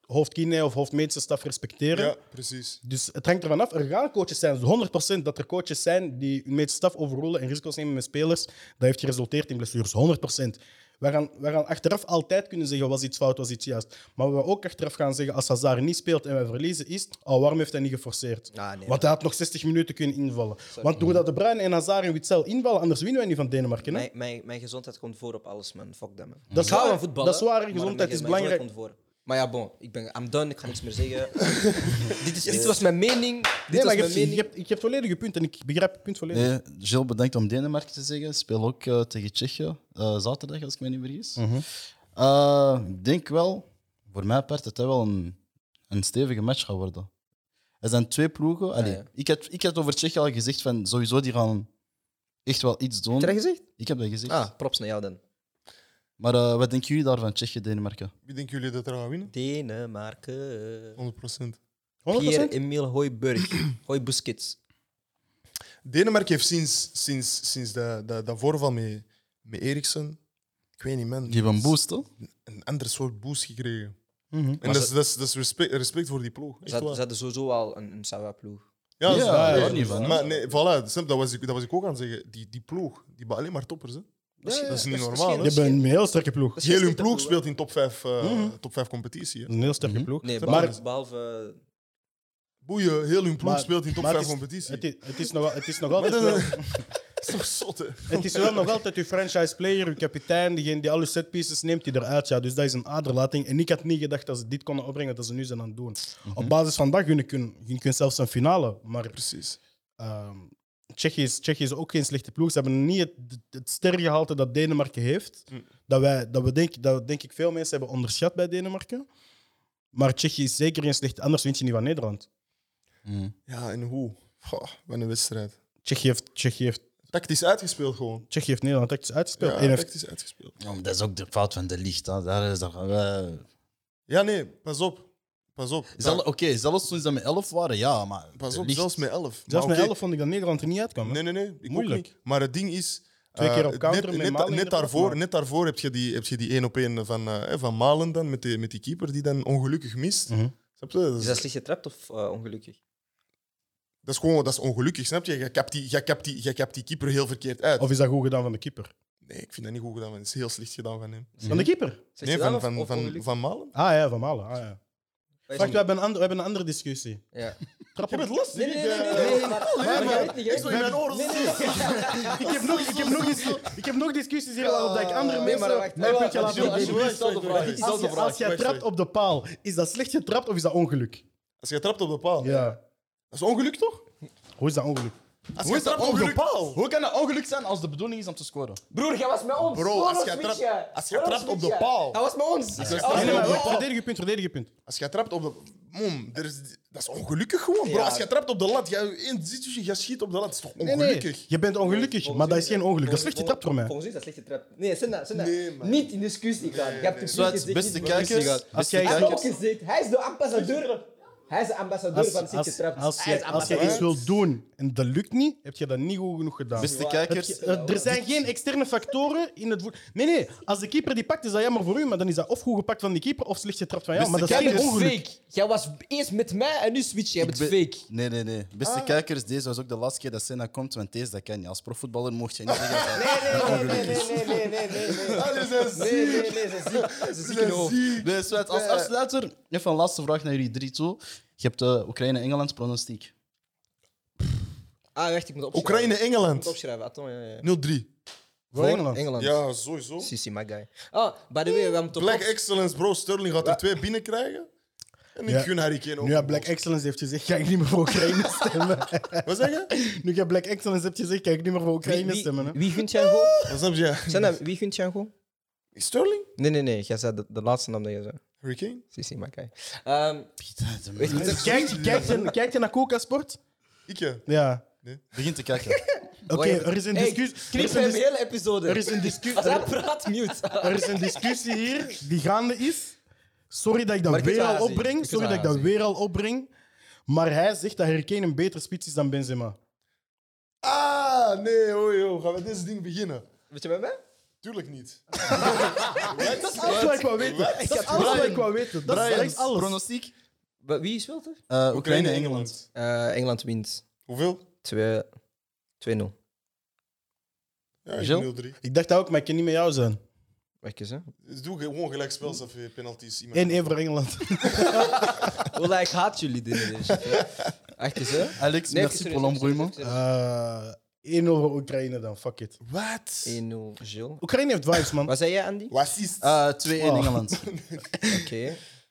C: hoofdkine of hoofdmedische staf respecteren.
A: Ja, precies.
C: Dus het hangt ervan af. Er gaan coaches zijn, dus 100% dat er coaches zijn die hun medische staf overroelen en risico's nemen met spelers. Dat heeft geresulteerd in blessures, 100%. Wij gaan, wij gaan achteraf altijd kunnen zeggen was iets fout, was iets juist. Maar wat we ook achteraf gaan zeggen als Hazard niet speelt en wij verliezen is, oh, waarom heeft hij niet geforceerd?
B: Ah, nee.
C: Want hij had nog 60 minuten kunnen invallen. Want doordat De Bruyne en Hazard en Witzel invallen, anders winnen wij niet van Denemarken. Hè?
B: Mijn, mijn, mijn gezondheid komt voor op alles, man. Fuck dat, man.
C: Dat
B: ik
C: is
B: hou
C: waar.
B: van voetballen.
C: Dat is waar,
B: maar
C: gezondheid
B: mijn-
C: is
B: mijn gezondheid
C: belangrijk.
B: komt voor. Maar ja, bon, ik ben, I'm done, ik ga niks meer zeggen. dit, is, dit was mijn mening. Dit was
C: Nee, maar
B: mijn
C: je hebt, je,
B: mening.
C: hebt, je hebt volledig je punt en ik begrijp je punt volledig.
D: Nee, Gilles, bedankt om Denemarken te zeggen. Speel ook eh, tegen Tsjechië eh, zaterdag, als ik me niet vergis. Eh, ik denk wel, voor mijn part, dat dat wel een, een stevige match gaat worden. Er zijn twee ploegen. Allee,
B: ja.
D: ik, had, ik had over Tsjechië al gezegd van sowieso die gaan echt wel iets doen.
B: Heb je dat gezegd?
D: Ik heb dat gezegd.
B: Ah, props naar jou dan.
D: Maar eh, wat denken jullie daarvan, Tsjechië, Denemarken?
A: Wie denken jullie dat er gaan winnen?
B: Denemarken.
A: 100%.
C: 100%?
B: Pierre-Emile Hooiberg. Hooibuskets.
A: Denemarken heeft sinds, sinds, sinds dat, dat, dat voorval met, met Eriksen, ik weet niet, man.
D: Die hebben een boost, hè?
A: Een ander soort boost gekregen.
C: Mhm.
A: En dat is, dat is, dat is respect, respect voor die ploeg.
B: Ze
A: Echt
B: hadden
A: waar.
B: ze hadden sowieso al een, een Sawa-ploeg.
A: Ja, dat is
D: Ja,
A: waar,
C: daar
A: ja.
C: hoor
D: niet van, hè.
A: Maar nee, voilà, Sam, dat was, ik, dat was ik ook aan het zeggen. Die, die ploeg, die bij alleen maar toppers. Hè. Dat, is,
B: Ja, ja,
A: dat is niet
B: dat is- dat is
A: normaal.
C: Je
A: hè.
C: hebt een heel sterke ploeg.
B: Dat is
A: Heel
B: geen
A: hun
B: slechte
A: ploeg
B: ploeg, hè.
A: speelt in top 5,
C: Mhm.
A: top 5 competitie. Hè.
C: Een heel sterke ploeg.
B: Mhm. Nee,
C: Maar-
B: behalve, behalve
A: Boeien, heel hun ploeg
C: maar-
A: speelt in top
C: maar
A: 5
C: het is-
A: competitie.
C: Het is, het is nog, wel- het is nog altijd
A: dat-
C: wel,
A: Dat is toch zot, hè?
C: het is wel nog altijd uw franchise player, uw kapitein, diegene die alle setpieces neemt, die eruit gaat. Dus dat is een aderlating. En ik had niet gedacht dat ze dit konden opbrengen, dat ze nu zijn aan het doen.
A: Mhm.
C: Op basis van dat kun je, kun je kunt zelfs een finale. Maar
A: Precies.
C: ehm, Tsjechië is, Tsjechië is ook geen slechte ploeg. Ze hebben niet het, het sterrengehalte dat Denemarken heeft.
A: Mhm.
C: Dat, wij, dat, we denk, dat denk ik veel mensen hebben onderschat bij Denemarken. Maar Tsjechië is zeker geen slechte... Anders wint je niet van Nederland.
A: Ja, en hoe? Goh, wat een wedstrijd.
C: Tsjechië heeft, Tsjechië heeft,
A: Tactisch uitgespeeld gewoon.
C: Tsjechië heeft Nederland tactisch uitgespeeld.
A: Ja,
C: Eén heeft
A: tactisch uitgespeeld.
D: Ja, maar dat is ook de fout van de licht. Hè. Daar is, daar gaan wij-
A: Ja, nee, pas op. Pas op.
D: Zelf- Oké, zelfs toen ze met 11 waren, ja, maar.
A: Pas
D: de
A: op,
D: Ligt-
A: zelfs met 11.
C: Zelfs met 11 vond ik dat Nederland er niet uitkwam. hè?
A: Nee, nee, nee. Ik
C: Moeilijk.
A: Moeilijk. Ook niet. Maar het ding is.
C: Twee keer op
A: eh,
C: counter met
A: net, net,
C: Malen
A: net,
C: inderdaad, maar-
A: daarvoor, net daarvoor heb je die heb je die één op één van, eh, hè, van Malen dan, met die, met die keeper die dan ongelukkig mist.
C: Mhm.
A: Snap je? Dat
B: Is
A: is,
B: dat slecht getrapt of eh, ongelukkig?
A: dat is gewoon dat is ongelukkig, snap je? Je kapt die, je kapt die, je kapt die keeper heel verkeerd uit.
C: Of is dat goed gedaan van de keeper?
A: Nee, ik vind dat niet goed gedaan. Het is heel slecht gedaan van hem.
B: Mhm.
C: Van de keeper?
B: Slecht
A: Nee, van,
B: gedaan of-
A: van,
B: of
A: van,
B: ongelukkig?
A: van Malen.
C: Ah ja, van Malen. Ah, ja.
B: Wat is
C: Wacht, we
B: dat?
C: hebben, een ander- we hebben een andere discussie.
B: Ja.
C: Trap
A: Je
C: op.
A: bent lastig.
B: Nee, nee, nee, nee,
A: eh.
B: nee, nee, nee, maar- maar
A: maar-
B: jij weet niet, jij
A: Ik stond in
B: weet
A: mijn oren.
B: niet. Nee, nee, nee.
C: Ik heb nog, ik heb nog, dis- ik heb nog discussies hier waarop dat ik andere
B: Nee, maar
C: mensen
B: wacht,
C: mijn
B: wacht,
C: puntje laat
B: wacht,
C: doen.
B: alsjeblieft, stel de vraag.
C: Als je, als jij trapt op de paal, is dat slecht getrapt of is dat ongeluk?
A: Als je trapt op de paal.
C: Ja.
A: Dat is ongeluk toch?
C: Hoe is dat ongeluk?
A: Als
D: Hoe
A: je
D: is dat
A: trapt op de
D: ongeluk?
A: paal.
D: Hoe kan dat ongeluk zijn als de bedoeling is om te scoren?
B: Broer, jij was met ons.
A: Bro,
B: Waarom
A: als jij
B: switch
A: trapt-
B: jij?
A: als jij
B: Waarom
A: trapt op
B: switch
A: de
B: jij?
A: paal.
B: Hij was met ons.
A: jij
B: Hij
A: trapt
B: was
A: op
B: met
A: de
B: ons.
A: paal.
C: Verdedig je punt, verdedig je punt.
A: Als jij trapt op de. Mom, er is, dat is ongelukkig gewoon, bro.
B: Ja.
A: Als jij trapt op de lat, jij, in, zit je, jij schiet op de lat. Dat is toch
C: Nee, nee,
A: ongelukkig?
C: Je bent ongelukkig, maar dat is geen ongeluk. Dat is slecht getrapt voor mij.
B: Volgens u is dat slecht getrapt. Nee, Senna, Senna.
A: Nee, man.
B: Niet in discussie gaan. Je hebt
D: Zwart,
B: gezegd,
D: beste
B: niet-
D: kijkers.
C: Als
D: beste
C: jij-
B: Hij heeft ook
D: kijkers.
B: gezegd. Hij is de ambassadeur. Hij is de ambassadeur
C: Als,
B: van
C: als,
B: slecht getrapt.
C: als,
B: Hij is
C: je, als je
B: ambassadeur.
C: iets wilt doen en dat lukt niet, heb je dat niet goed genoeg gedaan.
D: Beste
C: Het-
D: kijkers,
C: eh, er zijn geen externe factoren in het voet. Nee, nee. Als de keeper die pakt, is dat jammer voor u. Maar dan is dat of goed gepakt van die keeper of slecht getrapt van jou. Maar dat is
D: Beste
C: geen
B: Jij bent
C: ongeluk.
B: fake. Jij was eerst met mij en nu switch je. Jij bent
D: ben-
B: fake.
D: Nee, nee, nee. Beste kijkers, deze was ook de laatste keer dat Senna komt, want deze dat ken je. Als profvoetballer mocht je niet zeggen. dat-
B: Nee, nee, nee, nee, nee, nee, nee.
A: Ah, dat is een
B: Nee, nee, nee, ze is ziek. Ze is ziek in
A: ziek-
B: de hoofd.
A: ziek.
D: Nee, Sweat, als afsluiter, even een laatste vraag naar jullie drie toe. Je hebt de Oekraïne-Engeland pronostiek.
B: Ah, wacht, ik moet opschrijven. Ik moet
A: Oekraïne-Engeland.
B: opschrijven, attends. ja, ja, ja.
A: 0-3.
C: Voor Engeland.
B: Engeland.
A: Ja, sowieso.
B: Sissi, my guy. Ah, by the way, we hebben toch
A: Black
B: ook-
A: Excellence, bro. Sterling gaat er twee binnenkrijgen. En ik
C: Ja.
A: gun Harry Kane ook.
C: Nu hij
A: een
C: Black
A: goal.
C: Excellence heeft gezegd, ga ik niet meer voor Oekraïne stemmen.
A: Wat zeg je?
C: nu jij Black Excellence hebt gezegd, ga ik niet meer voor
B: Wie,
C: Oekraïne
B: wie,
C: stemmen. Hè?
B: wie gunt jij gewoon?
A: Wat snap je?
B: Sanna, wie gunt jij gewoon?
A: Sterling?
B: Nee, nee, nee. Jij zei de, de laatste naam dat je zei.
A: Harry Kane?
B: Sissi, my guy. Ehm, weet je wat ik-
C: Kijk, kijk, je, kijk je naar Coca Sport?
A: Ik ja.
C: Ja.
D: Begin te kijken.
C: Oké, er is een
B: Hey,
C: discussie. er
B: knip
C: is een
B: hem de
C: dis-
B: hele episode.
C: er is een discussie.
B: Als hij praat, mute.
C: Er is een discussie hier die gaande is. Sorry dat ik
B: Maar
C: dat
B: ik weet
C: weer
B: wat hij
C: al
B: zegt. Ik
C: opbreng.
B: weet
C: Sorry
B: wat
C: dat ik
B: hij
C: dat weer al opbreng. Maar hij zegt dat Harry Kane een betere spits is dan Benzema.
A: Ah, nee, hoi, joh. Gaan we dit ding beginnen?
B: Weet je bij mij?
A: Tuurlijk niet.
C: Dat is alles wat ik wou weten. Dat is alles wat ik wou weten. Dat is- dat is alles.
D: pronostiek?
B: Wa- Wie is wel er?
D: Eh, Oekraïne-Engeland.
A: Oekraïne-Engeland.
B: Eh, Engeland wint
A: Hoeveel?
B: 2 2-0.
A: Ja, ik
D: Gilles?
A: 0-3.
C: Ik dacht dat ook, maar ik kan niet met jou zijn.
B: Wacht eens, hè.
A: Dus doe gewoon gelijk spels of je penalties. Iemand
C: 1-1 voor Engeland.
B: Wallah, ik haat jullie dingen. dus. Wacht eens, hè.
D: Alex,
B: Nee, serieus,
D: merci pour
B: serieus,
D: l'embrouillement.
B: serieus.
C: Eh 1 over Oekraïne dan, fuck it.
A: Wat?
B: 1-0, Eh, Gilles.
C: Oekraïne heeft vibes, man.
B: Wat zei jij, Andy? Oké.
A: Wat is
D: Ah, 2-1
C: Oh.
D: Engeland.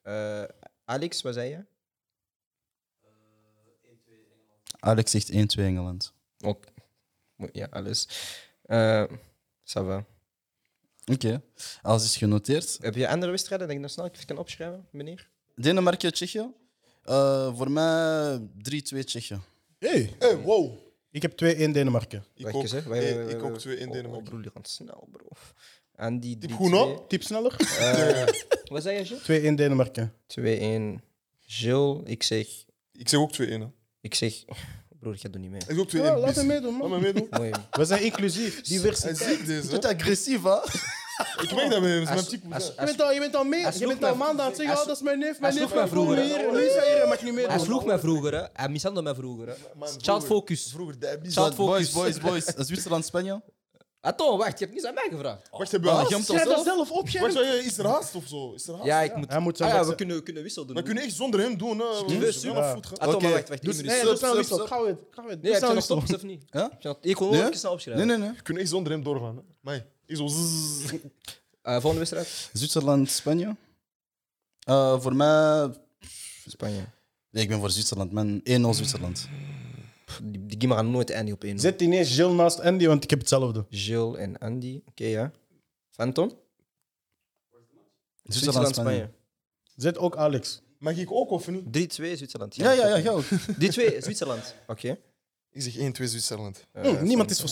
B: Eh, Alex, wat zei jij?
D: Alex zegt 1-2 Engeland.
B: Ook. Ja, alles. Eh ça va.
D: Oké, alles is genoteerd.
B: Heb je andere wedstrijden dat ik nog snel even kan opschrijven, meneer?
D: Denemarken, Tsjechië. Eh, voor mij 3-2 Tsjechië.
C: Hey,
A: Hey, wow.
C: ik heb 2-1 Denemarken.
A: Ik
B: Wacht
A: ook,
B: eens, hè. Wij-
A: Hey,
B: wij- wij-
A: ik ook
B: wij-
A: twee in
B: oh,
A: Denemarken.
B: Oh, broer, die gaat snel, bro. En die
A: Diep
B: 3-2.
A: goed op.
C: Tip sneller?
B: Eh, wat zei je,
C: 2-1 Denemarken.
B: Gilles? 2-1. Gilles, ik zeg...
A: Ik zeg ook twee in. Hè.
B: Ik zeg... Broer, ga doe niet mee.
A: Ik zeg ook twee
C: Ja,
A: in.
C: laat
A: Bis.
C: hem meedoen,
A: Laat me
C: man.
A: meedoen.
B: Mooi.
C: We zijn inclusief.
A: Hij dus,
C: Diversiteit.
A: ziet deze. hè.
D: agressief, hè?
A: Ik weet dat met
B: Als-
A: mijn type.
B: als-
A: moet
C: Je bent al, je bent al mee.
B: Hij
C: Je
B: sloeg
C: bent al
B: mij-
C: maanden aan het zeggen,
B: hij
C: oh, dat is mijn neef,
B: hij
C: mijn
B: sloeg
C: neef.
B: mij vroeger,
C: kom
B: hè.
C: hier, nu is hij hier, hij mag niet meer.
B: Hij sloeg mij vroeger, hè. Hij mishandelde mij vroeger, hè.
A: man,
B: Child
A: broer.
B: focus.
A: Vroeger, dat is
B: Shout-
D: Boys,
B: focus.
D: boys, boys. Eh, Zwitserland, Spanje.
B: Atto, wacht. Je hebt niets aan mij gevraagd.
A: Wacht, heb je haast?
D: Gent-
C: Schrijf dat zelf op,
A: Wacht,
C: jij.
A: eh, is er haast of zo? Is er haast?
B: Ja, ik moet...
C: Hij moet
B: Ah,
C: zijn
B: ja,
C: best-
B: we kunnen, we kunnen wissel doen.
A: We kunnen echt zonder hem doen. hè.
B: niet
A: We
B: best,
A: zijn
C: ja.
A: af voet gaan. Ah,
B: Atto,
D: Oké.
B: maar wacht, wacht. één
D: Dus-
B: minuut.
C: Nee, nou
D: Sub,
C: doe snel
D: sub,
C: wissel.
D: sub.
C: Gauw het. Gauw
B: Nee,
C: het.
B: heb
C: Doe
B: je
C: snel
B: nog
C: wissel.
B: tops of niet?
D: Ja?
B: Heb je nog- Ik wil
D: Nee?
B: nog even snel opschrijven.
D: Nee, nee, nee.
A: We kunnen echt zonder hem doorgaan. Hè. Mij. Ik zo. zzz.
B: Eh, volgende wedstrijd?
D: Zwitserland, Spanje. Eh, voor mij...
B: Spanje.
D: Nee, ik ben voor Zwitserland, man. 1-0 Zwitserland.
B: Die, die game gaan nooit eindigen op één.
C: Zet ineens Jill naast Andy, want ik heb hetzelfde.
B: Gilles en Andy. Oké, ja. Phantom?
D: Zwitserland, Spanje.
C: Zet ook Alex.
A: Mag ik ook of niet?
B: 3-2 Zwitserland.
D: Ja, ja, ja, ja. ook.
B: Die twee, Zwitserland. Oké.
A: Ik zeg 1, 2 Zwitserland.
B: Eh,
C: Hm, niemand
B: Phantom.
C: is voor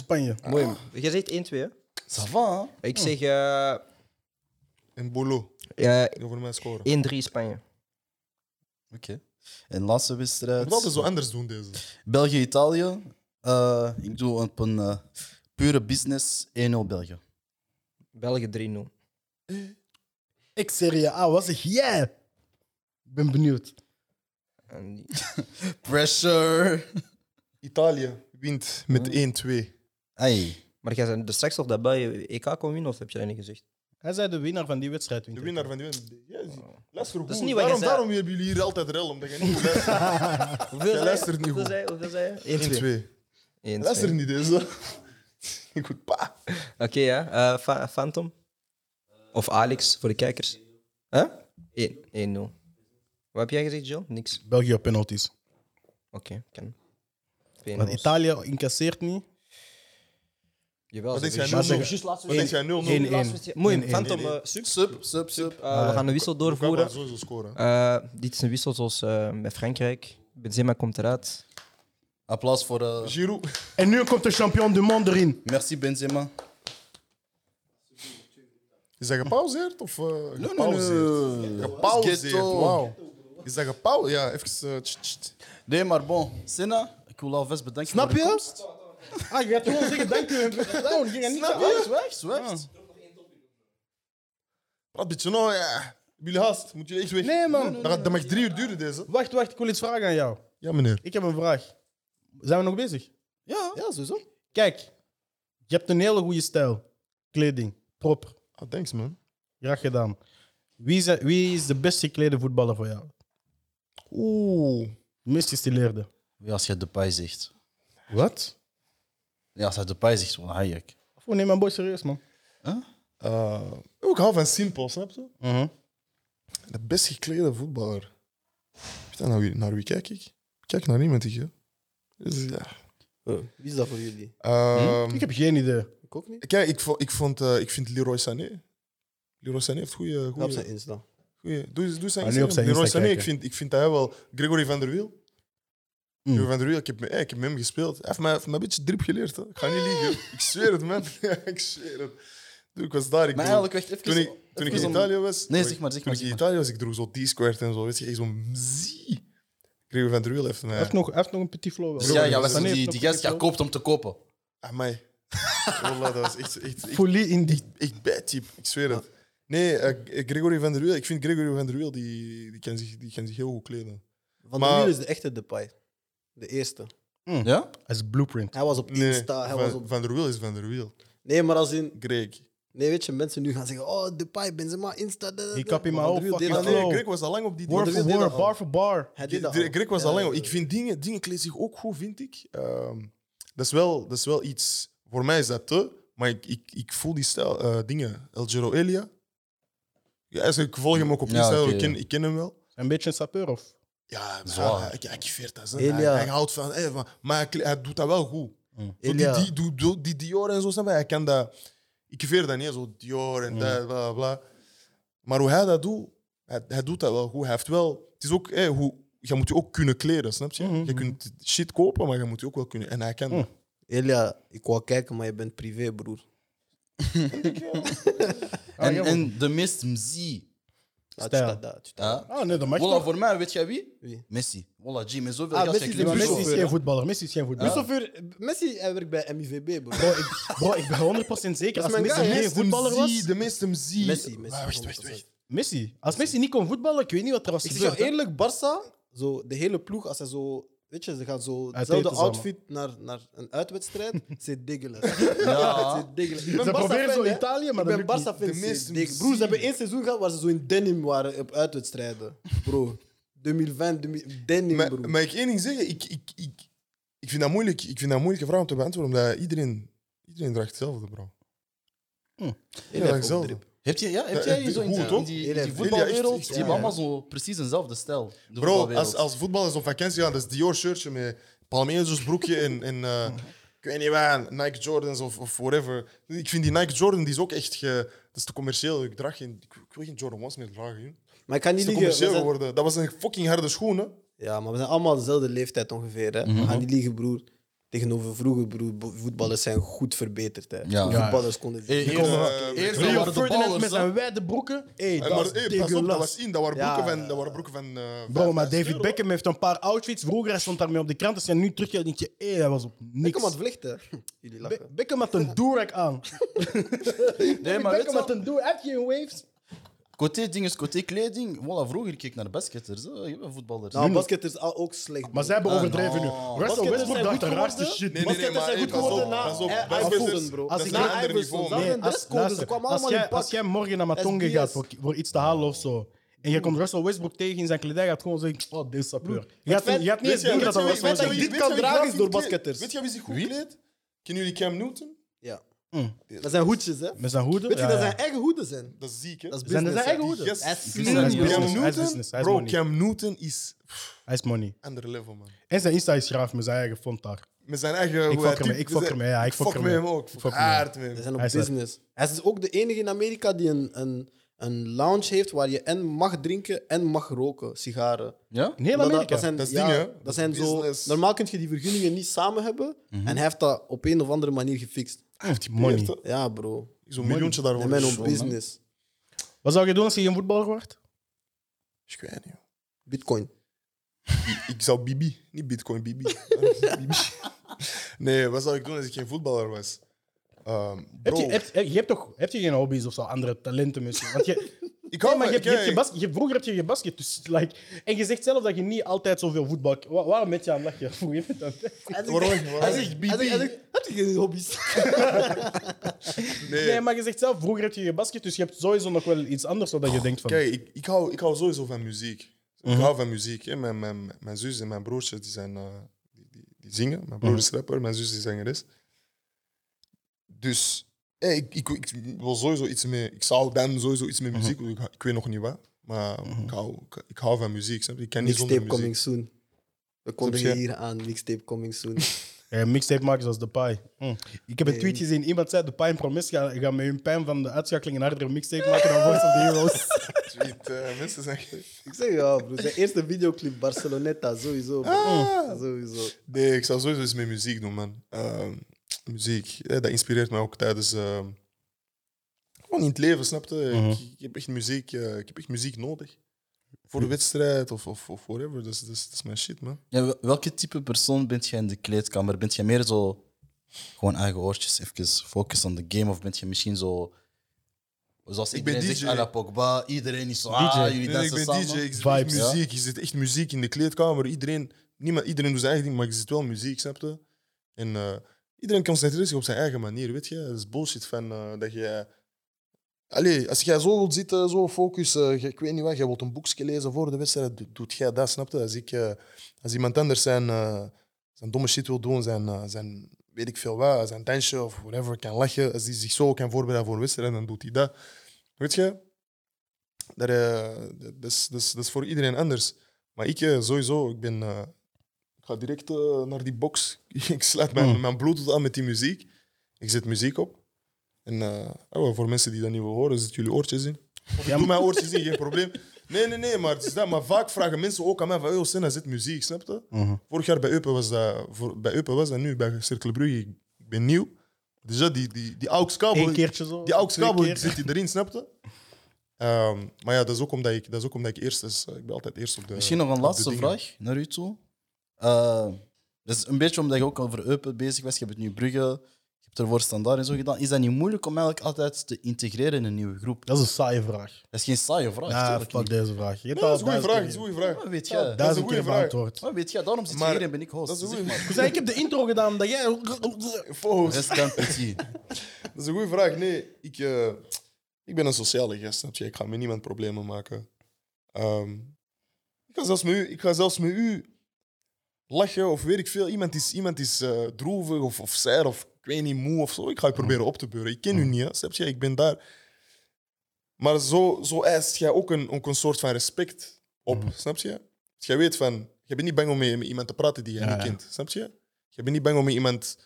C: Spanje.
B: Mooi. Jij Ah. zegt 1-2, hè?
D: Ça va, hè?
B: Ik zeg eh
A: En Bolo.
B: eh,
A: Die voor mij scoren.
B: 1-3 Spanje.
D: Oké. En laatste
A: Ik
D: wedstrijd.
A: moet altijd zo anders doen deze.
D: België, Italië. Eh, ik doe op een eh, pure business 1-0 België.
B: België 3-0.
C: Ik Serie A, wat zeg jij? Ik ben benieuwd.
B: En die-
D: Pressure.
A: Italië wint met 1-2.
D: Hey.
B: Maar jij zei er straks toch dat België EK kon winnen, of heb je dat niet gezegd?
C: Hij zei de winnaar van die wedstrijd.
A: De winnaar van die wedstrijd. Ja, zie. Luister goed.
B: Oh. Dat is niet wat
A: daarom,
B: jij zei.
A: daarom hebben jullie hier altijd rel, omdat je niet luistert.
B: Hoeveel
A: Jij luistert niet
B: hoeveel
A: goed.
B: zei Hoeveel zei je? 1-2.
A: 1-2.
B: 1-2.
A: Luister niet deze. Ik goed, pa.
B: Oké, ja. Eh, Fa- Phantom? Of Alex, voor de kijkers. Huh? 1-0. Wat heb jij gezegd, Jill? Niks.
C: België op penalties.
B: Oké, kan.
C: Want Italië incasseert niet.
B: Jawel,
A: Wat denk
B: ze
A: jij
B: hebben
C: zeggen-
A: nu?
B: juist laatste
A: Wat denk
B: wedstrijd.
A: jij 0-0?
C: één-
A: Luca
B: Laatste wedstrijd. Mooi,
C: 1-1.
B: Phantom, eh,
D: Sub, sub, sub, sub.
B: eh, we gaan een wissel doorvoeren.
A: gaat sowieso scoren.
B: Eh, dit is een wissel zoals eh, met Frankrijk. Benzema komt eruit.
D: Applaus voor... eh,
A: Giroud.
C: En nu komt de champion du monde erin.
D: merci Benzema.
A: Is dat gepauzeerd of eh gepauzeerd?
D: nee, nee.
A: Gepauzeerd,
D: Ghetto.
A: wauw. Is dat gepauzeerd? Ja, even... eh, tst, tst.
D: Nee, maar bon. Senna, ik wil alvast bedanken
C: Snap
D: voor de
C: je?
D: komst.
C: Ah, je gaat gewoon zeggen, dank u. Gewoon, je gaat niet Ah.
D: Snap je? Zwijg, zwijg.
A: Praat een beetje nou, ja. Hebben Jullie haast, moet je echt weg.
C: Nee, man.
A: Dat, gaat, dat mag drie uur duren, deze.
C: Wacht, wacht, ik wil iets vragen aan jou.
A: Ja, meneer.
C: Ik heb een vraag. Zijn we nog bezig?
D: Ja.
C: Ja, sowieso. Kijk, je hebt een hele goede stijl. Kleding, proper.
A: Ah, thanks, man.
C: Graag gedaan. Wie is, wie is de best geklede voetballer voor jou?
A: Oeh.
C: De meest gestileerde.
D: Ja, als je Depay zegt.
C: Wat?
D: Ja, als je Depay zegt, dan Hayek.
C: Oh, neem mijn boy serieus, man.
A: Eh, ik hou van simpel, snap je?
D: Mhm.
A: De best geklede voetballer. Weet je nou wie- naar wie kijk ik? Ik Kijk naar niemand, ik. hè. Dus, ja.
E: Eh, Wie is dat voor jullie?
A: Ehm,
C: Ik heb geen idee.
E: Ik ook niet.
A: Kijk, ik, vo- ik, vond, eh, ik vind Leroy Sané. Leroy Sané heeft goede.
E: Op zijn Insta.
A: Goeie. Doe, doe zijn
C: Maar Ah, nu op
A: Instagram.
C: zijn
A: Leroy
C: Insta
A: Sané,
C: kijken. Hmm.
A: ik vind, ik vind dat hij wel... Gregory van der Wiel. Gregory van der Wiel, ik heb, me- eh, ik heb met hem gespeeld. Hij heeft mij, heeft mij een beetje drip geleerd. Hè. Ik ga niet liegen.
D: Ah.
A: Ik zweer het, man. Ja, ik zweer het. Doe, ik was daar. Ik
D: Maar
A: droeg-
D: eigenlijk, wacht, even...
A: toen ik, toen ik
D: even
A: in
D: om-
A: Italië was...
D: Nee,
A: sorry,
D: zeg maar, zeg
A: Toen
D: maar,
A: ik in
D: zeg maar.
A: Italië was, ik droeg zo D-squared en zo. Weet je, echt zo'n mzie. Gregory van der Wiel heeft
C: Hij, heeft
A: mij...
C: nog, hij heeft nog een petit flow.
D: Dus
C: wel.
D: ja, ja, was
C: Sané heeft
D: die,
C: nog
D: die
C: een
D: gast
C: petit
D: ja,
C: flow.
D: koopt om te kopen.
A: Amai. Wallah, dat was echt... echt, echt
C: Fully in die.
A: Echt bad type, ik zweer het. Nee, eh, Gregory van der Wiel, ik vind Gregory van der Wiel, die, die, kan zich, die kan zich heel goed kleden.
E: Van
A: Maar-
E: der Wiel is de echte Depay. De eerste.
D: Ja?
A: Ah,
C: Als blueprint.
E: Hij was op
A: Nee,
E: Insta, hij
A: van,
E: was op...
A: van der Wiel is van der Wiel.
E: Nee, maar als in...
A: Greg.
E: Nee, weet je, mensen nu gaan zeggen, oh, Depay, Benzema, Insta, da, da, da.
C: Die kap in mijn
E: Maar
C: oog,
E: Driel deed
C: fucking
E: dat
A: nee,
E: al.
C: flow.
A: Greg was al lang op die
C: Word
E: Rodrigo
C: Ah, oh. for
E: deed dat
C: word,
E: al.
C: bar for bar.
E: Hij deed dat al.
A: De, Greg was
E: Ja,
A: alleen.
E: ja,
A: Ik vind dingen, dingen kleedt zich ook goed, vind ik. Ehm, dat, is wel, dat is wel iets. Voor mij is dat te, maar ik, ik, ik voel die stijl, eh, dingen. El Giro Elia. Ja, dus ik volg hem ook op
D: Ja,
A: Insta,
D: oké,
A: ik, ken,
D: ja.
A: ik ken hem wel.
C: Een beetje een sapeur of?
A: Ja, maar
D: Zwaar.
A: hij- hij activeert dat. hè.
E: Elia.
A: Hij, hij houdt van, eh, van- maar hij, kle- hij doet dat wel goed. Zo die,
E: Elia.
A: die, doe- doe- die Dior en zo, snap je? Hij kan dat... Ik veer dat niet, zo Dior
E: Mm.
A: en dat, bla, bla. Maar hoe hij dat doet, hij, hij doet dat wel goed. Hij heeft wel... Het is ook... eh, hoe, je moet je ook kunnen kleden, snap je?
E: Mhm.
A: Je kunt shit kopen, maar je moet je ook wel kunnen... En hij kan
E: Mm.
A: dat.
E: Elia, ik wou kijken, maar je bent privé, broer.
D: En,
C: jammer.
D: en de meest mzie.
E: Ah,
C: Stijl.
E: tja, da, tja, da.
D: Ja.
C: Ah, nee, dat mag
D: Voilà,
C: niet.
D: voor mij, weet jij wie?
E: Wie?
D: Messi. Voilà, G, met zoveel
E: Ah,
D: gas,
E: Messi
D: jij
E: is
D: klinkt
E: de
C: Messi
D: zo.
E: beste.
C: is geen voetballer. Messi is geen voetballer.
E: Christopher, Messi, hij werkt bij MIVB, broer.
C: Bro, ik, bro, ik ben 100% zeker.
E: Dat
C: Als
E: is mijn
C: Messi
E: guy, hè?
C: geen voetballer was.
A: De meeste Messi.
E: Messi, Messi,
A: Ah, wacht, wacht,
E: 100%.
A: wacht.
C: Messi. Als Messi niet kon voetballen, ik weet niet wat er was
E: Ik zeg jou
C: gebeurd. hè.
E: eerlijk, Barça, zo de hele ploeg, als ze zo, weet je, ze gaan zo dezelfde
C: eten samen.
E: outfit naar, naar een uitwedstrijd, ze diggelen.
D: Ja.
E: ze diggelen. Ik ben
C: Ze
E: Barca
C: proberen zo
E: fan, hè.
C: Italië, maar dat
E: ik ben
C: lukt
E: Barca
C: niet.
E: fan.
A: De meeste
E: ze diggen. Broer, ze hebben één seizoen gehad waar ze zo in denim waren op uitwedstrijden, bro. 2020, 2000 denim,
A: Maar,
E: bro.
A: maar ik één ding zeggen, ik, ik, ik, ik vind dat moeilijk. Ik vind dat een moeilijke vraag om te beantwoorden, omdat iedereen, iedereen draagt hetzelfde, bro. Iedereen draagt hetzelfde.
D: Heb je, ja, heb
A: Ja,
D: jij
A: het-
D: zo in,
A: Eh, goed,
D: die-
A: toch?
D: in die, in
E: Ja,
D: die
E: echt,
D: voetbalwereld,
A: echt,
D: die
A: ja.
D: hebben allemaal zo precies eenzelfde stijl. de
A: Bro,
D: voetbalwereld.
A: als, als voetballers op vakantie gaan, dat is Dior shirtje met Palmeiras broekje en, en eh, ik weet niet waar, Nike Jordans of, of whatever. Ik vind die Nike Jordan die is ook echt, ge, dat is te commercieel. Ik draag geen, ik, ik wil geen Jordan 1's meer dragen. joh. Het
E: Maar ik kan
A: is
E: niet
A: te
E: liegen. we
A: commercieel
E: zijn-
A: geworden. Dat was een fucking harde schoen, hè?
E: Ja, maar we zijn allemaal dezelfde leeftijd ongeveer. Hè?
C: Mhm.
E: We gaan niet liegen, broer. Tegenover vroeger, broer, bo- voetballers zijn goed verbeterd. Hè?
D: Ja.
E: Voetballers konden...
D: Eh, eerst-
A: komen-
D: eh, eerst
A: Rio
D: waren
C: Rio
D: de
C: Ferdinand
D: ballers, hè.
C: met zijn wijde broeken. Hey,
A: Eh,
C: dat
A: maar
C: is
A: hey, pas op, dat
C: tegenlast.
A: was in, dat waren
E: Ja,
A: broeken
E: ja.
A: van... Dat waren broeken van eh,
C: Bro, maar
A: 5000
C: David
A: euro.
C: Beckham heeft een paar outfits. Vroeger hij stond daarmee op de krant. Als je hem nu terugkijkt, denk je, hé, dat was op
E: Ik kom aan
C: niks.
E: het vlichten. Jullie
C: Be-
E: lachen.
C: Beckham had een Durek aan.
D: Nee, maar weet
C: Beckham
D: je
C: had
D: wat?
C: een Durek. Heb je geen waves?
D: Côté dingen, côté kleding. Voilà, vroeger keek ik naar basketters. hè. Je bent voetballer.
E: Nou, basket is al ook slecht.
C: Maar
E: bro.
C: zij hebben
D: Ah,
C: overdreven nu.
D: no.
C: Russell
E: Basketters
C: Westbrook
E: zijn
C: dacht
E: goed
C: de raarste
E: geworden.
C: shit.
A: Nee, nee, nee,
E: Basketters
A: maar
E: zijn
A: hey,
E: goed
A: pas op,
E: geworden na
A: pas op.
E: Al-
A: Basketers-
E: Iverson, bro.
A: Dat
C: Als
A: is
C: ik-
A: een dus
C: na
A: ander niveau, man.
E: Nee,
C: Nee,
E: en
C: als,
E: dresscode,
C: luister,
E: ze kwamen
C: als,
E: allemaal
C: jij,
E: in pak.
C: als jij morgen naar Matonge
E: SBS.
C: gaat voor, voor iets te halen of zo, en je komt Russell Westbrook tegen in zijn kledij, gaat gewoon zeggen, oh, dit is sapeur. Je gaat niet- je gaat niet eens
A: Weet je-
C: denken
A: weet
C: dat dat
A: je wie-
C: Russell
A: weet je
C: Westbrook
A: wie-
C: is.
E: Dit
A: weet
E: kan
A: je wie
E: dragen
A: graag
E: is
A: goed
E: door
A: kleedt?
E: basketters.
A: Weet je wie zich goed kleedt? Kennen jullie Cam Newton?
E: Ja.
C: Mm.
E: Dat zijn hoedjes, hè?
C: Met zijn hoeden.
E: Weet je,
C: ja,
E: dat
C: ja.
E: zijn eigen hoeden zijn.
A: Dat is ziek, hè?
E: Dat is
C: Zijn dat
E: business.
C: zijn eigen
E: hè?
C: hoeden?
E: Die gast-
A: Yes.
E: slim,
C: Hij is
E: bro.
C: business,
A: Cam
C: hij is
A: Newton,
C: business, hij is
A: bro,
C: money.
A: Cam Newton is
C: Hij is money.
A: ander level, man.
C: En zijn Insta is graaf met zijn eigen font daar.
A: Met zijn eigen...
C: Ik
A: hoe hij
C: fok ermee,
A: typt,
C: ik fok
A: dus hij-
C: ermee, ja, ik fok
A: met
C: ermee.
A: hem ook.
C: Ik
A: Ik
C: fok
A: fok
C: ermee.
A: hard met
E: Ze
A: hem.
E: zijn op
C: Hij is uit.
E: business. Hij is ook de enige in Amerika die een, een, een lounge heeft waar je en mag drinken en mag roken, sigaren.
D: Ja?
C: In heel
E: Omdat
C: Amerika.
E: zijn,
A: Dat is
E: ja,
A: ding, hè?
E: Dat zijn zo,
A: Business.
E: normaal kun je die vergunningen niet samen hebben.
C: Mhm.
E: En hij heeft dat op een of andere manier gefixt.
C: Hij heeft money.
A: Eerst,
E: Ja, bro.
A: Zo'n miljoentje
E: De
A: daarvoor.
E: man op
A: Zo,
E: business.
C: Wat zou je doen als je geen voetballer wordt?
A: Ik weet niet, joh.
E: Bitcoin.
A: Ik- Ik zou Bibi, niet Bitcoin, Bibi. Bibi. Nee, wat zou ik doen als ik geen voetballer was? Ehm,
C: Heb
A: bro,
C: je, heb, heb- je hebt toch heb je geen hobby's of zo, andere talenten misschien? Want je,
A: ik
C: Nee,
A: hou
C: maar je, hebt- je
A: ik-
C: hebt gebasket- je hebt- vroeger heb je gebasket. Dus, like, en je zegt zelf dat je niet altijd zoveel voetbal... Wa- waarom met je aan het lachen? Broer, je bent aan het-
A: Waarom? Waarom?
E: Hij zegt- hij zegt, Heb je geen hobby's?
A: Nee,
C: Nee, maar je zegt zelf, vroeger heb je gebasket. Dus je hebt sowieso nog wel iets anders wat je denkt van...
A: Oh, Kijk, ik, ik, hou, ik hou sowieso van muziek. Ik hou van muziek. Hè. Mijn, mijn, mijn zus en mijn broertje die zijn, eh, die, die, die zingen. Mijn broer is rapper, mijn zus is zangeres. Dus hé, ik, ik, ik wil sowieso iets mee. Ik zou dan sowieso iets met muziek doen. Ik, ik weet nog niet wat. Maar ik, hou, ik, ik hou van muziek. snap je? Ik kan niet zonder
E: Mixtape
A: muziek.
E: coming soon. We konden
A: Snap je?
E: hier aan, mixtape coming soon.
C: Eh, mixtape maken zoals de pie. Hm. Ik heb een tweet gezien. Iemand zei, de pie en Promis gaan, gaan met hun pijn van de uitschakeling een hardere mixtape maken dan Voice of the Heroes.
A: Tweet, eh, mensen zijn...
E: Ik zeg ja, bro. Zijn eerste videoclip, Barceloneta, sowieso. bro.
A: Ah.
E: Sowieso.
A: Nee, ik zou sowieso iets met muziek doen, man. Ehm, muziek, eh, dat inspireert mij ook tijdens... ehm, gewoon in het leven, snap je? Ik, ik heb echt muziek, eh, ik heb echt muziek nodig. Voor de wedstrijd of, of, of whatever. Dat is, dat, is, dat is mijn shit, man.
D: Ja, wel- welke type persoon bent jij in de kleedkamer? Bent jij meer zo gewoon eigen oortjes, even focus on the game? Of bent je misschien zo... Zoals
A: Ik
D: ik
A: ben
D: ben
A: DJ.
D: zegt, à la Pogba, iedereen is zo...
C: DJ.
D: Ah, jullie
A: Nee,
D: dansen
A: ik ben
D: samen.
A: DJ, ik zit echt
C: Vibes, ja.
A: muziek. Je zit echt muziek in de kleedkamer. Iedereen, niemand, iedereen doet zijn eigen ding, maar ik zit wel muziek, snap je? En eh, iedereen concentreert zich op zijn eigen manier, weet je? Dat is bullshit van eh, dat je Allee, als jij zo wilt zitten, zo focus, eh, je- ik weet niet wat, jij wilt een boekje lezen voor de wedstrijd, doe- doet jij dat, snap je? Als, ik, eh, als iemand anders zijn, eh, zijn domme shit wil doen, zijn, eh, zijn weet ik veel wat, zijn dansje of whatever, kan lachen, als hij zich zo kan voorbereiden voor een wedstrijd, dan doet hij dat. Weet je? Dat, eh, dat, dat is, dat, is, dat is voor iedereen anders. Maar ik eh, sowieso, ik ben... eh, ik ga direct eh, naar die box. ik sluit mijn, mijn bluetooth aan met die muziek. Ik zet muziek op. En eh, oh, voor mensen die dat niet willen horen, zet jullie oortjes in. Of ja, doe mijn oortjes in, geen probleem. Nee, nee, nee, maar, het is dat. maar vaak vragen mensen ook aan mij van, oh, Senna, zit muziek, snap je? Vorig jaar bij Eupen was dat, voor, bij Eupen was dat nu, bij Cirkel Brugge, ik ben nieuw. Dus ja, die, die, die AUX-kabel,
C: Eén keertje zo.
A: die aux
C: twee
A: kabel
C: keer.
A: zit die erin, snap je? Ehm, maar ja, dat is ook omdat ik, dat is ook omdat ik eerst is. eh, Ik ben altijd eerst op de
D: Misschien nog
A: op
D: een
A: de
D: laatste
A: dingen.
D: vraag naar u toe. Eh, dat is een beetje omdat je ook al voor Eupen bezig was. Je hebt het nu Brugge, je hebt ervoor standaard en zo gedaan. Is dat niet moeilijk om eigenlijk altijd te integreren in een nieuwe groep?
C: Dat is een saaie vraag.
D: Dat is geen saaie vraag.
C: Ja,
D: tuurlijk
C: fuck
D: niet.
C: deze vraag. Je hebt
A: Nee,
C: al
A: dat is een goede
C: duizend
A: vraag, dat
C: keer-
A: is een goede vraag.
D: Wat weet jij?
A: Dat is een
C: Duizend
A: goede
C: keer
A: vraag.
C: beantwoord.
D: Wat weet jij? Daarom zit je
A: Maar-
D: hier en ben ik host.
A: Dat is een
D: zeg
A: goede
D: maar.
A: vraag.
C: Ik zei, ik heb de intro gedaan, dat jij...
A: Volgens-
D: Rest kan petit.
A: Dat is een goede vraag. Nee, ik, eh, ik ben een sociale gast, snap je? Ik ga met niemand problemen maken. Ehm, ik, ga zelfs met u, ik ga zelfs met u lachen of weet ik veel. Iemand is, iemand is eh, droevig of, of sair of ik weet niet, moe of zo. Ik ga je proberen op te beuren. Ik
D: Mm.
A: ken u niet, hè, snap je? Ik ben daar. Maar zo, zo eist jij ook een, ook een soort van respect op,
C: Mm.
A: snap je? Dus jij weet van, je bent niet bang om met, met iemand te praten die je niet kent, snap je? Je bent niet bang om met iemand...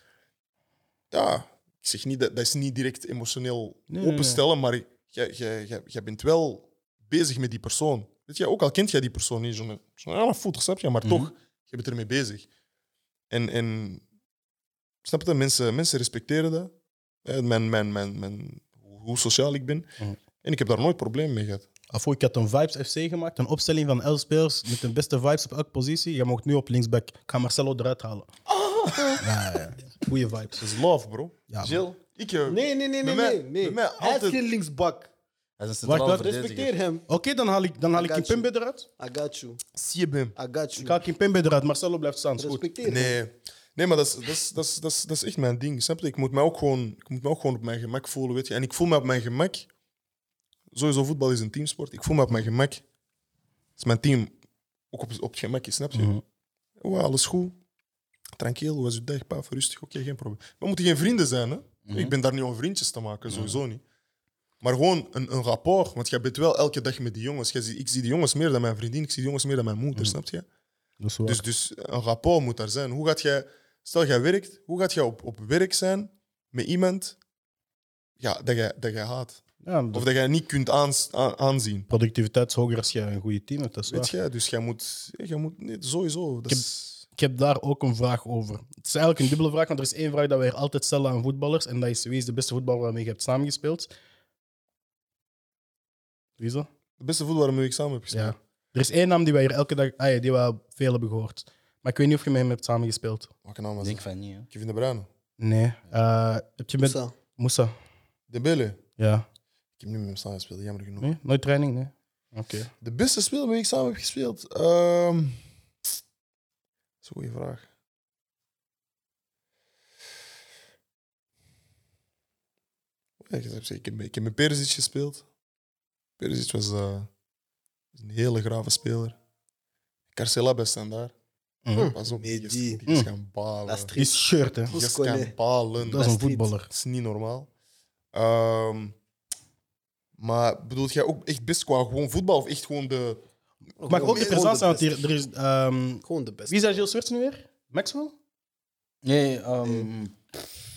A: Ja, ik zeg niet dat dat is niet direct emotioneel
C: Nee, nee,
A: openstellen, maar jij- jij- jij- jij bent wel bezig met die persoon. Weet je, ook al kent jij die persoon niet, zo'n zo'n hele voet, snap je, maar
C: Mhm.
A: toch, je bent ermee bezig. En, en snap je, mensen, mensen respecteren dat. Eh, Mijn, mijn, mijn, mijn, hoe hoe sociaal ik ben.
E: Mhm.
A: En ik heb daar nooit problemen mee gehad.
C: Afo, ik had een Vibes FC gemaakt, een opstelling van elf spelers met de beste vibes op elke positie. Jij mocht nu op linksback. Ik ga Marcelo eruit halen.
A: Oh.
C: Ja, ja. Goeie vibes.
A: Dat is love, bro.
C: Ja, man.
E: Jill?
A: Ik, eh,
E: Nee, nee, nee, nee.
A: Bij mij-
E: nee, nee.
A: bij mij
E: Hij is
A: altijd-
E: geen linksbak.
D: Hij is een
C: Wacht,
D: centraal
C: wacht,
D: verdediger.
E: Respecteer hem.
C: Oké, dan haal ik, dan haal ik
E: I got
C: Kimpembe eruit.
E: I got you.
A: zie je hem.
E: I
C: Ik
E: got you.
C: haal Kimpembe eruit. Marcelo blijft staan. is goed.
E: Respecteer hem.
A: Nee. nee, maar dat is, dat, is, dat, is, dat, is, dat is echt mijn ding. Snap je? Ik moet me ook gewoon, ik moet me ook gewoon op mijn gemak voelen. Weet je? En ik voel me op mijn gemak. Sowieso, voetbal is een teamsport. Ik voel me op mijn gemak. Als mijn team ook op, op het gemak is, snap je? Oh, alles goed. Tranquil, hoe was je dag? Paf, rustig, oké, geen probleem. We moeten geen vrienden zijn, hè? Ik ben daar niet om vriendjes te maken, sowieso niet. Maar gewoon een, een rapport, want jij bent wel elke dag met die jongens. Jij ziet- ik zie die jongens meer dan mijn vriendin, ik zie die jongens meer dan mijn moeder, snap je?
C: Dat is waar.
A: Dus, dus een rapport moet daar zijn. Hoe gaat jij, stel jij werkt, hoe gaat jij op, op werk zijn met iemand ja, dat, jij, dat jij haat?
C: ja, de
A: Of dat jij niet kunt aans- aan- aanzien?
C: productiviteit is hoger als je een goede team hebt. Dat is
A: Weet
C: waar.
A: jij? Dus jij moet, ja, jij moet nee, sowieso. Dat
C: Ik
A: is,
C: Ik heb daar ook een vraag over. Het is eigenlijk een dubbele vraag, want er is één vraag dat wij hier altijd stellen aan voetballers. En dat is wie is de beste voetballer waarmee je hebt samengespeeld? Wie is dat?
A: de beste voetballer met wie ik samen heb gespeeld.
C: Ja. Er is één naam die wij hier elke dag, ah ja, die we veel hebben gehoord. Maar ik weet niet of je met hem hebt samengespeeld.
A: Welke naam
D: Ik
A: was
D: denk
A: dat?
D: van niet, hè.
A: Kevin De Bruyne.
C: Nee. Eh, heb je met
E: Zo.
C: Moussa?
A: Dembele.
C: Ja.
A: Ik heb niet met hem samen gespeeld, jammer genoeg.
C: Nee? Nooit training? Nee. Oké.
A: De beste speler met wie ik samen heb gespeeld? Ehm, dat is een goede vraag. Ja, ik heb- Ik heb, ik heb met Perisic gespeeld. Perisic was eh, een hele grave speler. Carcela bij Standaard.
C: Mhm.
A: Pas op, die is,
E: Medi.
A: die is gaan balen.
E: Dat is
C: Die
E: triest.
C: is shirt, hè.
A: Die is
E: Buscone.
A: gaan balen.
C: Dat is een
E: Bastard.
C: voetballer.
A: Dat is niet normaal. Ehm, maar bedoelt jij ook echt best qua gewoon voetbal of echt gewoon de...
C: Ik mag ook de present zijn, want hier, er is... ehm,
E: Gewoon de beste.
C: wie is dat Gilles Swerts nu weer? Maxwell?
D: Nee, ehm,
E: Wie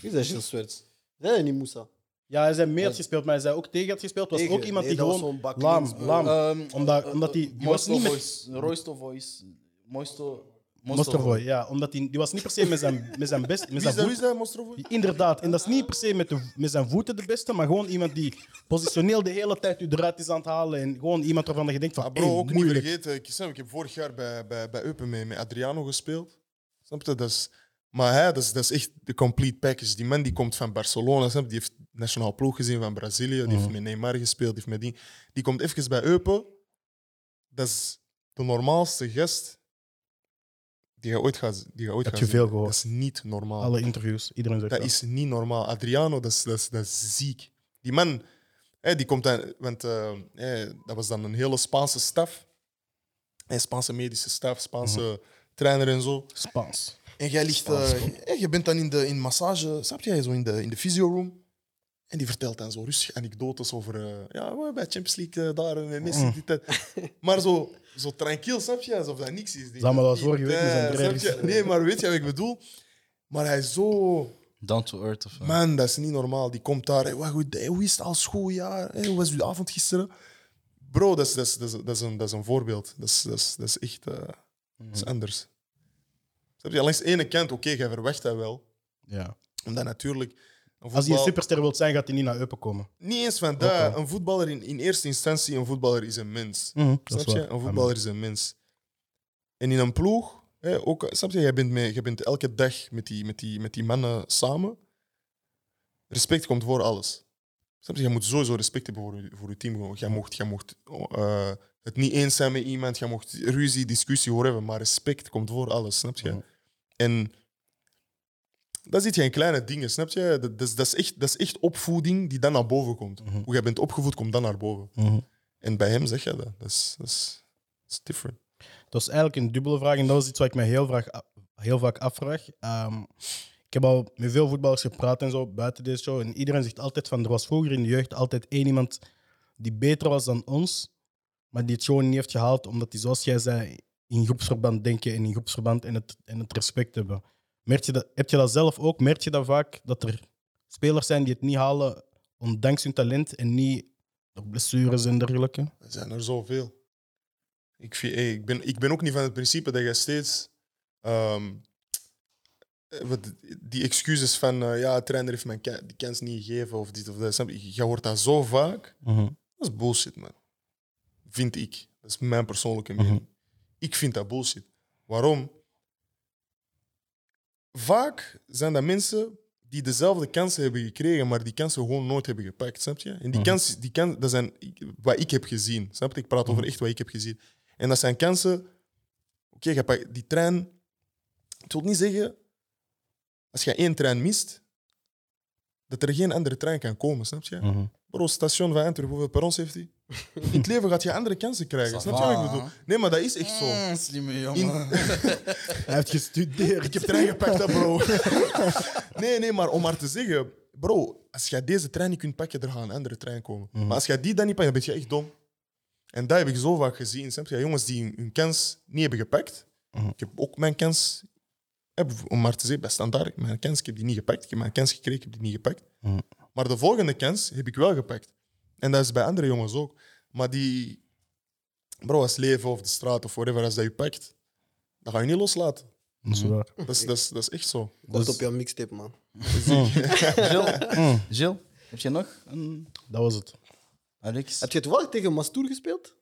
E: is dat, Gilles Swerts? Zijn dat niet Moussa?
C: Ja, hij zei mee had
E: Ja.
C: gespeeld, maar hij zei ook tegen had gespeeld. was
E: Tegen.
C: ook iemand
E: Nee,
C: die
E: dat was
C: gewoon...
E: zo'n bak
C: laam,
E: links.
C: laam.
D: ehm,
C: omdat,
D: eh,
C: omdat die, die was
D: Moisto
C: niet met...
D: Voice, Roysto Voice. Moisto...
C: Mostrovoy, ja. Omdat die, die was niet per se met zijn, met zijn best... Met
A: Wie
C: zijn
A: is dat, wie
C: voet,
A: is dat Mostrovo?
C: Inderdaad, en dat is niet per se met, de, met zijn voeten de beste, maar gewoon iemand die positioneel de hele tijd u eruit is aan het halen. En gewoon iemand waarvan je denkt van,
A: Ah,
C: ah,
A: bro, ook
C: moeilijk.
A: niet vergeten. Ik, snap, ik heb vorig jaar bij, bij, bij Eupen mee, met Adriano gespeeld. Snap je? Dat is, maar hij, dat is, dat is echt de complete package. Die man die komt van Barcelona, snap je? Die heeft nationaal ploeg gezien van Brazilië. Die
C: Mhm.
A: heeft met Neymar gespeeld, die heeft met die. Die komt even bij Eupen. Dat is de normaalste gast die je ooit gaat, die je ooit
C: Heb
A: gaat
C: je
A: zien.
C: veel gehoord.
A: Dat is niet normaal.
C: Alle interviews, iedereen zegt
A: Dat
C: dat.
A: is niet normaal. Adriano, dat is, dat, is, dat is ziek. Die man, Hè, die komt dan, want eh, hè, dat was dan een hele Spaanse staf. Hè, Spaanse medische staf, Spaanse trainer en zo.
C: Spaans.
A: En jij ligt, eh, en je bent dan in de in massage, snap jij, zo in de, in de physioroom. En die vertelt dan zo rustig anekdotes over, eh, ja, we bij Champions League eh, daar en Messi, dit, dat. Maar zo, zo tranquil, snap je, alsof dat niks is.
C: Zeg maar, dat was vorige week met zijn
A: Eh, snap je?
C: trainers.
A: Nee, maar weet je wat ik bedoel? Maar hij is zo...
D: Down to earth of... eh,
A: Man, dat is niet normaal. Die komt daar. Hey, wat goed, hey, hoe is het al schooljaar? Hey, hoe was uw avond gisteren? Bro, dat is, dat is, dat is, dat is, een, dat is een voorbeeld. Dat is, dat is, dat is echt eh, dat
C: Mhm.
A: is anders. Snap je? Langs de ene kant, oké, jij verwacht dat wel.
C: Ja.
A: Omdat natuurlijk... Een
C: Als hij een
A: voetbal-
C: superster wilt zijn, gaat hij niet naar Eupen komen.
A: Niet eens van dat. Een voetballer in, in eerste instantie, een voetballer is een mens.
C: Mhm, dat is
A: Snap je?
C: waar.
A: Een voetballer is een mens. En in een ploeg, hè, ook, snap je, jij bent, mee, jij bent elke dag met die, met, die, met die mannen samen. Respect komt voor alles. Snap je? Je moet sowieso respect hebben voor, je- voor je team. gewoon. Jij mocht, jij mocht eh, het niet eens zijn met iemand, jij mocht ruzie, discussie, whatever, maar respect komt voor alles, snap je? En dat zit geen kleine dingen, snap je? Dat, dat, is, dat, is echt, dat is echt opvoeding die dan naar boven komt. Hoe jij bent opgevoed, komt dan naar boven.
C: Mhm.
A: En bij hem zeg je dat. Dat is, dat is, dat is different.
C: Dat is eigenlijk een dubbele vraag en dat is iets wat ik me heel, vraag, heel vaak afvraag. Ehm, ik heb al met veel voetballers gepraat en zo buiten deze show. En iedereen zegt altijd van, er was vroeger in de jeugd altijd één iemand die beter was dan ons, maar die het gewoon niet heeft gehaald, omdat die, zoals jij zei, in groepsverband denken en in groepsverband en het, en het respect hebben. Merk je dat, heb je dat zelf ook? Merk je dat vaak, dat er spelers zijn die het niet halen, ondanks hun talent en niet door blessures en dergelijke?
A: Er zijn er zoveel. Ik, vind- hey, ik, ben, ik ben ook niet van het principe dat je steeds. ehm, eh, wat, die excuses van. eh, ja, de trainer heeft mijn ke- die kans niet gegeven of dit of dat. Snap je? Je hoort dat zo vaak. Dat is bullshit, man. Vind ik. Dat is mijn persoonlijke mening. Ik vind dat bullshit. Waarom? Vaak zijn dat mensen die dezelfde kansen hebben gekregen, maar die kansen gewoon nooit hebben gepakt, snap je? En die kansen, die kansen, dat zijn ik- wat ik heb gezien, snap je? Ik praat over echt wat ik heb gezien. En dat zijn kansen... Oké, jij pakt die trein... Het wil niet zeggen, als je één trein mist, dat er geen andere trein kan komen, snap je? Bro, station van Antwerpen, hoeveel perrons heeft hij? In het leven gaat je andere kansen krijgen, snap je wat ik bedoel? Nee, maar dat is echt zo.
D: Mm, slimme jongen.
A: In,
C: Hij heeft gestudeerd.
A: ik heb trein gepakt, hè, bro. nee, nee, maar om maar te zeggen, bro, als jij deze trein niet kunt pakken, er gaat een andere trein komen. Maar als jij die dan niet pakt, dan ben je echt dom. En dat heb ik zo vaak gezien. Snap je? Jongens die hun- hun kans niet hebben gepakt. Ik heb ook mijn kans, heb, om maar te zeggen, bij standaard, mijn kans, ik heb die niet gepakt. Ik heb mijn kans gekregen, ik heb die niet gepakt. Maar de volgende kans heb ik wel gepakt. En dat is bij andere jongens ook. Maar die, bro, als leven of de straat of whatever, als dat je pakt, dan ga je niet loslaten.
C: Dat is waar.
A: Dat is, dat is, dat is echt zo.
E: Kort
C: Dus
E: op jouw mixtape, man.
D: Jill, Jill, heb je nog een...
C: Dat was het.
D: Alex?
E: Heb je het wel tegen Mastour gespeeld?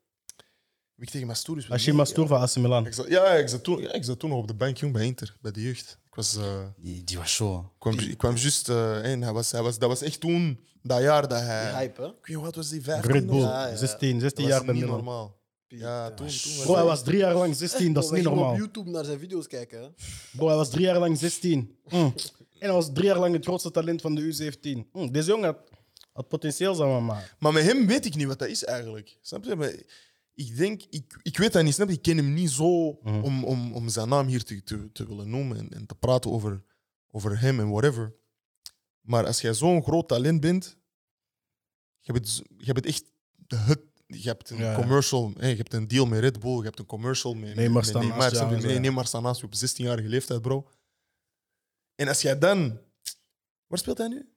A: Wie ik tegen Mastour is.
C: Hashim Mastour van AC Milan.
A: Ik zat, ja, ik zat, toen, ja, ik zat toen nog op de bank jong, bij Inter, bij de jeugd. Ik was, eh,
D: Die, die was zo.
A: ik kwam, ju- ik kwam juist eh, in. Hij was, hij was, dat was echt toen, dat jaar dat hij.
E: Die hype, hè?
A: Ik weet niet, wat was die
C: Red
A: 15 of
C: Bull,
A: zo?
E: Ja, ja, ja.
C: 16,
A: Dat
C: 16
A: was
C: jaar bij
A: niet
C: Milan.
A: normaal. Ja, toen, toen was
C: Bro, hij was drie jaar lang 16, dat is
E: Wij
C: niet
E: gingen
C: normaal.
E: op YouTube naar zijn video's kijken, hè?
C: Bro, hij was drie jaar lang 16. Mm. En hij was drie jaar lang het grootste talent van de U17. Mm, Deze jongen had, had potentieel, zeg maar. maar.
A: Maar met hem weet ik niet wat dat is eigenlijk. Snap je? Maar ik denk, ik, ik weet dat niet, snap je? Ik ken hem niet zo
C: Mhm.
A: om, om, om zijn naam hier te, te, te willen noemen en, en te praten over, over hem en whatever. Maar als jij zo'n groot talent bent, je bent, z- je bent echt het. Je hebt een
C: Ja, ja.
A: commercial, hè, je hebt een deal met Red Bull, je hebt een commercial met
C: Neymar
A: met
C: staan
A: Neymar,
C: naast jou
A: snap je?
C: en zo,
A: Nee,
C: ja.
A: Neymar staan naast je op 16-jarige leeftijd, bro. En als jij dan... Waar speelt hij nu?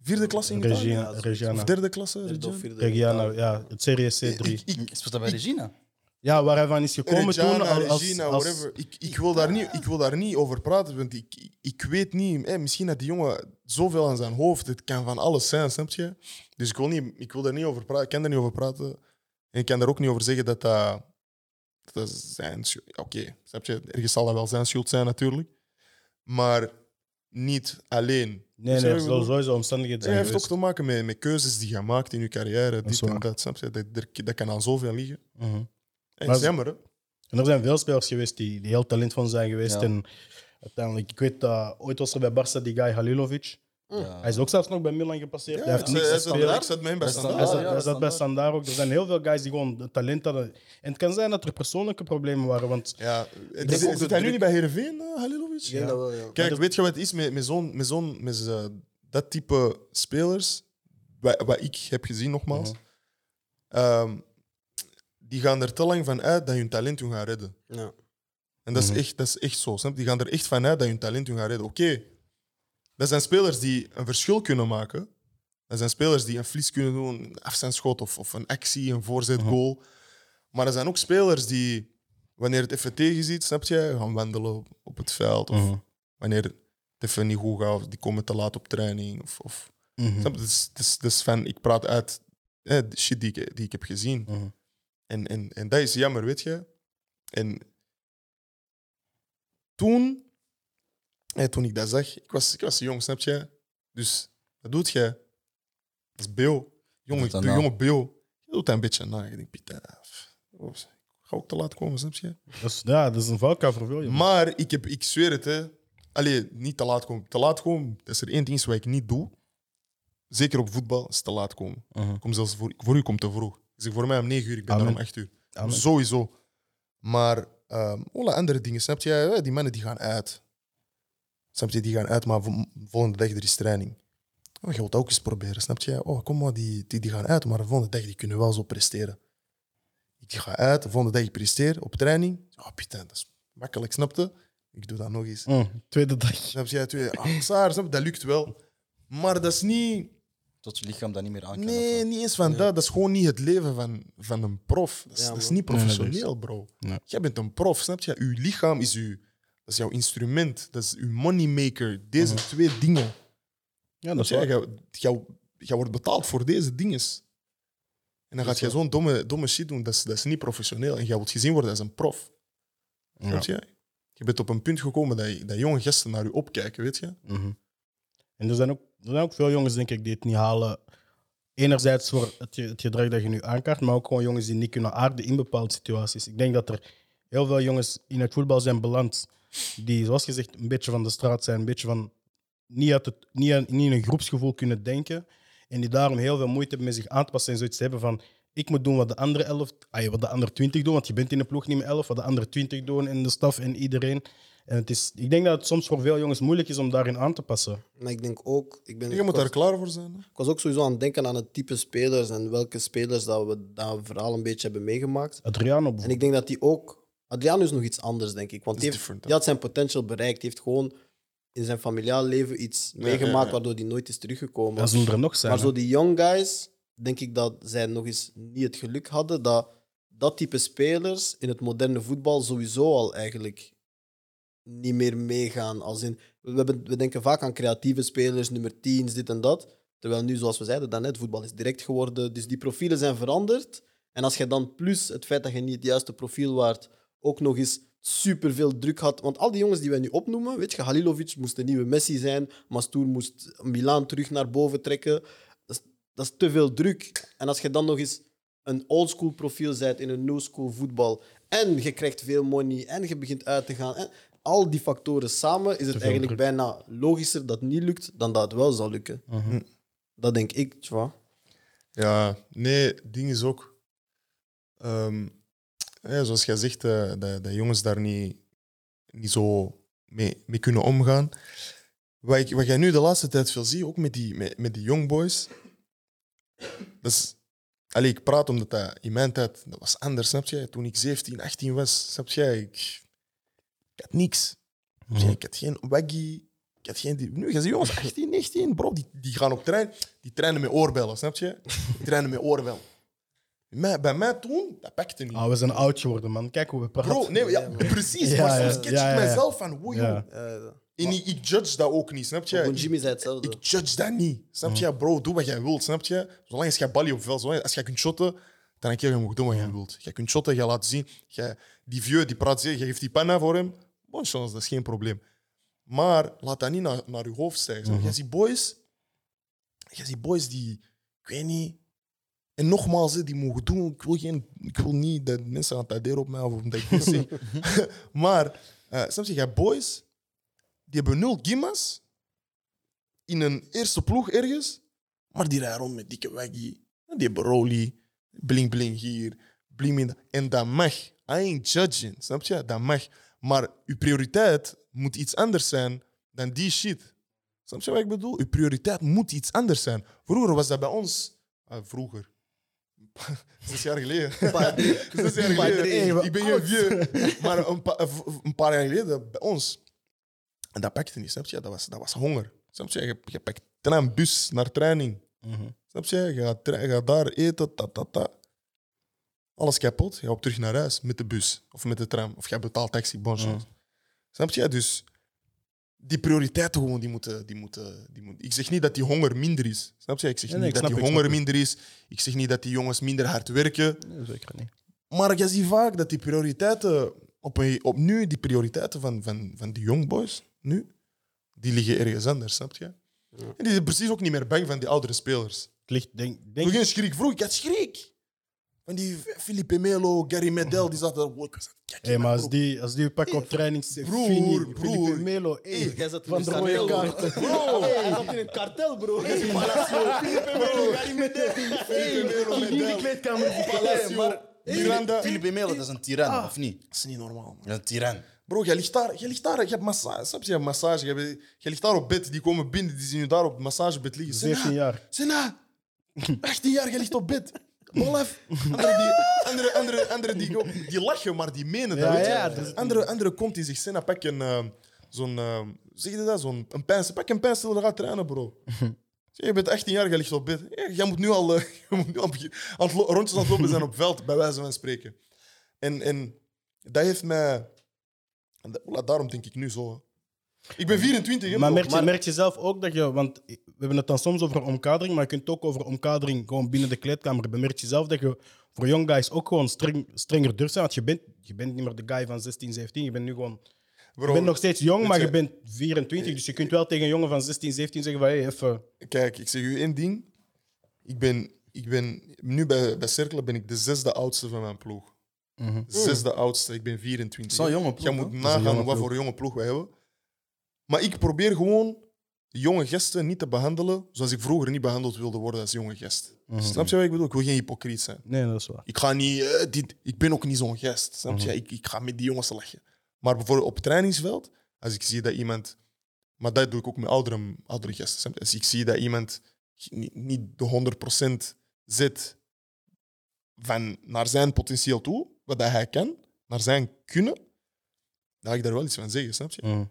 A: Vierde klasse in Italië?
C: Regina,
E: ja,
A: Of
C: Regina.
A: derde klasse?
E: Derde of
A: Regina?
E: vierde.
C: Regina, ja, het Serie
A: Ik,
C: C3.
A: ik,
D: Is dat bij Regina?
C: Ja, waar hij van is gekomen toen.
A: Regina,
C: al- Als,
A: Regina,
C: als-
A: whatever. Ik, ik, wil daar niet, ik wil daar niet over praten, want ik, ik- ik weet niet. Hè, misschien dat die jongen zoveel aan zijn hoofd. Het kan van alles zijn, snap je? Dus ik wil, niet, ik wil daar niet over praten. Ik kan daar niet over praten. En ik kan daar ook niet over zeggen dat dat, dat dat zijn schuld Oké, snap je? Ergens zal dat wel zijn schuld zijn, natuurlijk. Maar niet alleen.
C: Nee, nee,
A: Snap
C: er
A: je wat ik
C: zal
A: bedoel?
C: sowieso omstandigheden
A: Hij
C: zijn
A: heeft ook
C: geweest.
A: te maken met, met keuzes die je maakt in je carrière. Dit
C: is
A: en
C: waar.
A: dat, snap je? Dat, dat, dat kan aan zoveel liggen.
C: Mhm.
A: En
C: Maar
A: het is
C: ze-
A: jammer, hè?
C: En er zijn veel spelers geweest die, die heel talentvol zijn geweest.
D: Ja.
C: En uiteindelijk, ik weet dat ooit was er bij Barça die guy Halilovic. Hij is ook zelfs nog bij Milan gepasseerd. hij heeft
A: Ik
C: niks
A: zet-
C: gespeeld.
A: ik zet mij bij
D: Bij
A: standaard.
C: Hij zat,
D: ja,
C: hij
D: dat
C: zat
D: is
C: bij
D: standaard.
C: Standaard ook. Er zijn heel veel guys die gewoon de talent hadden. En het kan zijn dat er persoonlijke problemen waren. Want
A: Ja, het
E: denk
A: is,
E: ook
A: zit
E: de
A: hij nu
E: druk-
A: niet bij Heerenveen, eh, Halilovic?
E: Ik denk dat wel, ja.
A: Kijk, weet je wat het is met, met zo'n... Met zo'n met z'n- dat type spelers, wat, wat ik heb gezien nogmaals,
E: Mhm.
A: ehm, die gaan er te lang van uit dat hun talent hun gaan redden.
E: Ja.
A: En dat, is echt, dat is echt zo. Snap? je? Die gaan er echt van uit dat hun talent hun gaan redden. Oké, dat zijn spelers die een verschil kunnen maken. Dat zijn spelers die een flies kunnen doen, een afstandsschot of, of een actie, een voorzet, goal. Maar er zijn ook spelers die, wanneer het even tegen zit, snap je, gaan wandelen op, op het veld.
C: Mhm.
A: Of wanneer het even niet goed gaat, of die komen te laat op training. Of, of,
D: Mhm.
A: snap je? Dus, dus, dus van, ik praat uit eh, de shit die ik, die ik heb gezien.
C: Mhm.
A: en, en, en dat is jammer, weet je. En toen, eh, toen ik dat zag, ik was, ik was jong, snap je? Dus wat doet jij? Dat is Beo. Jonge,
D: Doet dat
A: de
D: nou?
A: jonge Beo. Je doet dat een beetje na. Je denkt, Pieter, pff, ik ga ook te laat komen, snap je?
C: dat is, ja, dat is een valkuil voor veel jongens.
A: Maar ik, heb, ik zweer het, hè. Allee, niet te laat komen. Te laat komen, dat is er één ding wat ik niet doe. Zeker op voetbal, is te laat komen. Ik Kom zelfs voor, voor u komt te vroeg. Ik zeg voor mij om 9 uur, ik ben
C: Uh-huh.
A: daar
C: Amen.
A: om 8 uur.
C: Amen.
A: Sowieso. Maar ehm alle andere dingen, snap je? Eh, Die mannen die gaan uit. Snap je? Die gaan uit, maar vol- volgende dag er is training. Oh, je wilt dat ook eens proberen, snap je? Oh, kom maar, die, die, die gaan uit, maar de volgende dag die kunnen wel zo presteren. Ik ga uit, de volgende dag ik presteer op training. Oh, Pieter, dat is makkelijk, snapte? Ik doe dat nog eens.
C: Mm, tweede dag.
A: Snap je? Twee, ah, Saar, snap je? Dat lukt wel. Maar dat is niet...
D: Tot je lichaam Ah, dat niet meer aan kan.
A: Nee,
D: of
A: niet eens van dat. Dat is gewoon niet het leven van, van een prof. Dat is,
E: Ja,
A: dat is
E: man.
A: niet
C: Nee, dat is-
A: professioneel, bro.
C: Nee.
A: Jij bent een prof, snap je? Uw lichaam is uw... Dat is jouw instrument. Dat is uw moneymaker. Deze twee dingen.
C: Ja, dat is
A: Jij
C: waar.
A: jij- jij- jij wordt betaald voor deze dingen. En dan gaat jij zo'n domme, domme shit doen. Dat is, dat is niet professioneel. En jij wordt gezien worden als een prof. Snap je? Je bent op een punt gekomen dat, je- dat jonge gasten naar je opkijken, weet je?
C: En er zijn, ook, er zijn ook veel jongens, denk ik, die het niet halen. Enerzijds voor het, ge- het gedrag dat je nu aankaart, maar ook gewoon jongens die niet kunnen aarden in bepaalde situaties. Ik denk dat er heel veel jongens in het voetbal zijn beland die, zoals gezegd, een beetje van de straat zijn, een beetje van niet, uit het, niet, aan- niet in een groepsgevoel kunnen denken en die daarom heel veel moeite hebben met zich aan te passen en zoiets te hebben van ik moet doen wat de andere elf, ah, wat de andere twintig doen, want je bent in de ploeg niet meer elf, wat de andere twintig doen en de staf en iedereen. En het is, ik denk dat het soms voor veel jongens moeilijk is om daarin aan te passen.
E: Maar ik denk ook... Ik, ben,
A: Je
E: ik
A: moet
E: was-
A: daar klaar voor zijn. hè?
E: ik was ook sowieso aan het denken aan het type spelers en welke spelers dat we dat verhaal een beetje hebben meegemaakt.
C: Adriano
E: En
C: bijvoorbeeld.
E: ik denk dat die ook... Adriano is nog iets anders, denk ik. Want
A: Is
E: die heeft,
A: different, hè?
E: die had zijn potential bereikt. Die heeft gewoon in zijn familiaal leven iets meegemaakt
A: ja.
E: waardoor die nooit is teruggekomen.
C: Dat zullen er nog zijn.
E: Maar
C: hè.
E: zo die young guys, denk ik dat zij nog eens niet het geluk hadden dat dat type spelers in het moderne voetbal sowieso al eigenlijk niet meer meegaan. Als in, we, hebben, we denken vaak aan creatieve spelers, nummer 10, dit en dat. Terwijl nu, zoals we zeiden daarnet, voetbal is direct geworden. Dus die profielen zijn veranderd. En als je dan plus het feit dat je niet het juiste profiel waart, ook nog eens superveel druk had. Want al die jongens die wij nu opnoemen, weet je, Halilovic moest de nieuwe Messi zijn, Mastour moest Milaan terug naar boven trekken. Dat is, dat is te veel druk. En als je dan nog eens een oldschool profiel bent in een no-school voetbal, en je krijgt veel money, en je begint uit te gaan, en al die factoren samen, is het eigenlijk
C: druk.
E: bijna logischer dat het niet lukt dan dat het wel zal lukken. Dat denk ik, tja.
A: Ja, nee, ding is ook. ehm, ja, zoals jij zegt, eh, dat, dat jongens daar niet, niet zo mee, mee kunnen omgaan. Wat, ik, wat jij nu de laatste tijd veel ziet, ook met die, met, met die jongboys. Dat is, allee, ik praat omdat dat in mijn tijd dat was anders, snap je? Toen ik 17, 18 was, snap je? Ik, ik had niks. Snap je? Ik had geen waggy. Ik had geen, die- nu gaan ze jongens 18, 19, bro, die, die gaan op trein. Die trainen met oorbellen, snap je? Die trainen met oorbellen. Mij- bij mij toen, dat pakte niet.
C: Ah, we zijn oud geworden, man. Kijk hoe we praten.
A: Bro, nee, ja, precies.
C: Ja,
A: maar
C: ja,
A: soms catch
C: ja,
A: ik
C: ja.
A: mijzelf van, wow,
C: Ja.
A: joh. En ik, ik judge dat ook niet, snap je? Dus
E: Ook
A: Ik-
E: Jimmy Eh, zei hetzelfde.
A: ik judge dat niet. Snap je, bro? Doe wat jij wilt, snap je? Zolang je geen balie op veld, zolang als jij kunt shotten, dan een keer je mag doen wat jij wilt. Jij kunt shotten, jij laat zien. Jij, die vieux, die praat zeer, je geeft die panna voor hem. Bon chance, dat is geen probleem. Maar laat dat niet naar, naar je hoofd stijgen. snap je? Jij ziet boys, jij ziet boys die, ik weet niet. En nogmaals, hè, die mogen doen. Ik wil, geen, ik wil niet dat mensen gaan taderen op mij of omdat ik dit zeg. maar, eh snap je, jij boys, die hebben nul gimmas in een eerste ploeg ergens, maar die rijden rond met dikke waggy. Die hebben Broly, bling bling hier, bling bling. da- En dat mag. I ain't judging, snap je? Dat mag. Maar uw prioriteit moet iets anders zijn dan die shit. Snap je wat ik bedoel? Uw prioriteit moet iets anders zijn. Vroeger was dat bij ons. Ah, vroeger. Zes jaar geleden. Zes jaar
C: Padre.
A: geleden. eh, Ik ben geen vieux. Maar een, pa- eh, een paar jaar geleden bij ons. En dat pakte niet, snap je? Dat was, dat was honger. Snap je? Je, je pakt trein, bus naar training. Snap je? Je gaat, tra- je gaat daar eten, dat, dat, dat. Alles kapot. Je gaat op terug naar huis met de bus of met de tram. Of je betaalt taxi, bon
C: Mm.
A: chance. Snap je? Dus die prioriteiten gewoon, die moeten, die moeten, die moeten... Ik zeg niet dat die honger minder is. Snap je? Ik zeg
C: Nee, nee,
A: niet
C: ik
A: dat
C: snap
A: die
C: het, ik
A: honger
C: snap
A: minder is. Ik zeg niet dat die jongens minder hard werken.
C: Nee, zeker niet.
A: Maar je ziet vaak dat die prioriteiten, op, een- op nu, die prioriteiten van, van, van die young boys, nu, die liggen ergens anders, snap je? En die zijn precies ook niet meer bang van die oudere spelers.
C: Het ligt, denk,
A: Toen
C: denk
A: geen schrik vroeg, ik had schrik. Van die Felipe Melo, Gary Medel, die zaten daar. "Wow, ik was- kijk,
C: Hey, maar
A: man,
C: als
A: bro."
C: die, als die pak op training zegt,
A: Broer,
C: Fini,
A: broer.
C: Felipe Melo, hey,
E: Jij zat
C: van
E: in
C: de
E: een
C: rode
E: kartel.
C: kaart.
E: Bro, hij zat in een kartel, bro. Hey, Palacio. Felipe Melo, Gary Medel.
A: Felipe Melo,
E: Hey,
A: Medel,
C: kleedkamer.
A: Palacio, Miranda.
D: Philippe Melo, dat is een tiran,
A: Ah.
D: of niet?
A: Dat is niet normaal, man.
D: Dat is een tiran.
A: Bro, jij ligt daar, jij ligt daar, je hebt massage, snap je? Je hebt massage, je, hebt- jij ligt daar op bed, die komen binnen, die zien je daar op het massagebed liggen. Zeg,
C: 17 jaar.
A: Sena, 18 jaar, jij ligt op bed. Bolef. Anderen die, andere, andere, andere die, die lachen, maar die menen dat.
C: Ja,
A: weet je.
C: ja, dat is-
A: andere, andere komt in zich. Sena, pak een... ehm, zo'n... ehm, zeg je dat? Zo'n een pensel. Pak een pensel en dan ga trainen, bro. Zeg, Je bent 18 jaar, jij ligt op bed. Ja, Jij moet nu al, eh, je moet nu al begin- aan het lo- rondjes aan het lopen zijn op veld, bij wijze van spreken. En, en dat heeft mij... en dat- voilà, daarom denk ik nu zo. hè. Ik ben 24, hè,
C: Maar
A: bro.
C: merk je, merk je zelf ook dat je, want we hebben het dan soms over omkadering, maar je kunt het ook over omkadering gewoon binnen de kleedkamer hebben. Merk je zelf dat je voor young guys ook gewoon streng, strenger durft zijn, want je bent, je bent niet meer de guy van 16, 17, je bent nu gewoon...
A: Bro,
C: Je bent nog steeds jong,
A: weet
C: maar
A: je-
C: je bent 24, dus je kunt wel tegen een jongen van 16, 17 zeggen van, hey, even...
A: Kijk, ik zeg u één ding. Ik ben, ik ben nu bij, bij Cerkelen ben ik de zesde oudste van mijn ploeg. Zesde oudste, ik ben 24.
D: Zo'n jonge ploeg,
A: Jij
D: hè?
A: moet
D: Dat
C: Mhm. een jonge
A: nagaan wat
C: ploeg.
A: voor jonge ploeg wij hebben. Maar ik probeer gewoon jonge gasten niet te behandelen zoals ik vroeger niet behandeld wilde worden als jonge gast.
C: Mhm.
A: Snap je wat ik bedoel? Ik wil geen hypocriet zijn.
C: Nee, dat is waar.
A: Ik ga niet, eh, dit, ik ben ook niet zo'n gast. Snap je? Ik, ik ga met die jongens lachen. Maar bijvoorbeeld op het trainingsveld, als ik zie dat iemand. Maar dat doe ik ook met oudere, oudere gasten. snap je? Als ik zie dat iemand niet, niet de 100% zit van naar zijn potentieel toe, wat dat hij kan, naar zijn kunnen, dan ga ik daar wel iets van zeggen, snap je?
C: Mhm.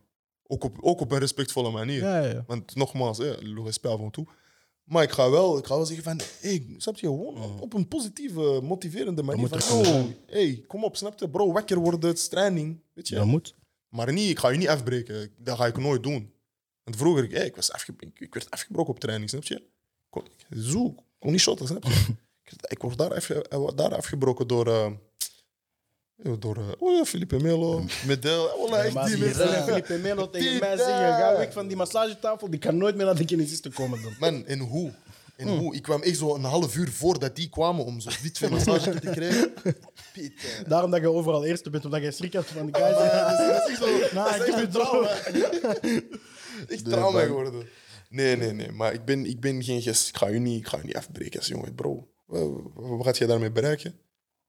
A: Ook, op, ook op een respectvolle manier.
C: Ja, ja, ja.
A: Want nogmaals, hè, le respect avant tout. Maar ik ga wel, ik ga wel zeggen van, hey, snap je, gewoon op, op een positieve, motiverende manier.
C: moet
A: Van,
C: er
A: yo, hey, kom op, snap je, bro, wakker worden, het is training, weet je.
C: Dat moet.
A: Maar niet, ik ga je niet afbreken, dat ga ik nooit doen. Want vroeger, hey, ik, was afge- ik, ik werd afgebroken op training, snap je. Ik kon, ik- zo, ik kon niet shotten, snap je. ik, ik word daar, afge- eh, word daar afgebroken door... eh, door, eh, oh ja, Felipe Melo, Medel, eh, wallah, echt
C: Maar
A: die
C: die
A: mensen.
C: zelf Felipe Melo tegen mij zeggen, ga weg van die massagetafel, die kan nooit meer naar de kinesisten komen dan.
A: Man, en hoe? En hoe? Ik kwam echt zo een half uur voordat die kwamen om zo dit van massage te krijgen. Pieter.
C: Daarom dat je overal eerste bent, omdat je schrik hebt van de
A: Ja,
C: guys.
A: dat is- dat is echt zo.
C: Nou,
A: dat is
C: ik
A: echt
C: heb
A: een
C: het wel.
A: trauma. Echt trauma geworden. Nee, nee, nee. Maar ik ben, ik ben geen gest. Ik ga je niet, ik ga je niet afbreken als jongen, bro. Wat, wat gaat jij daarmee bereiken?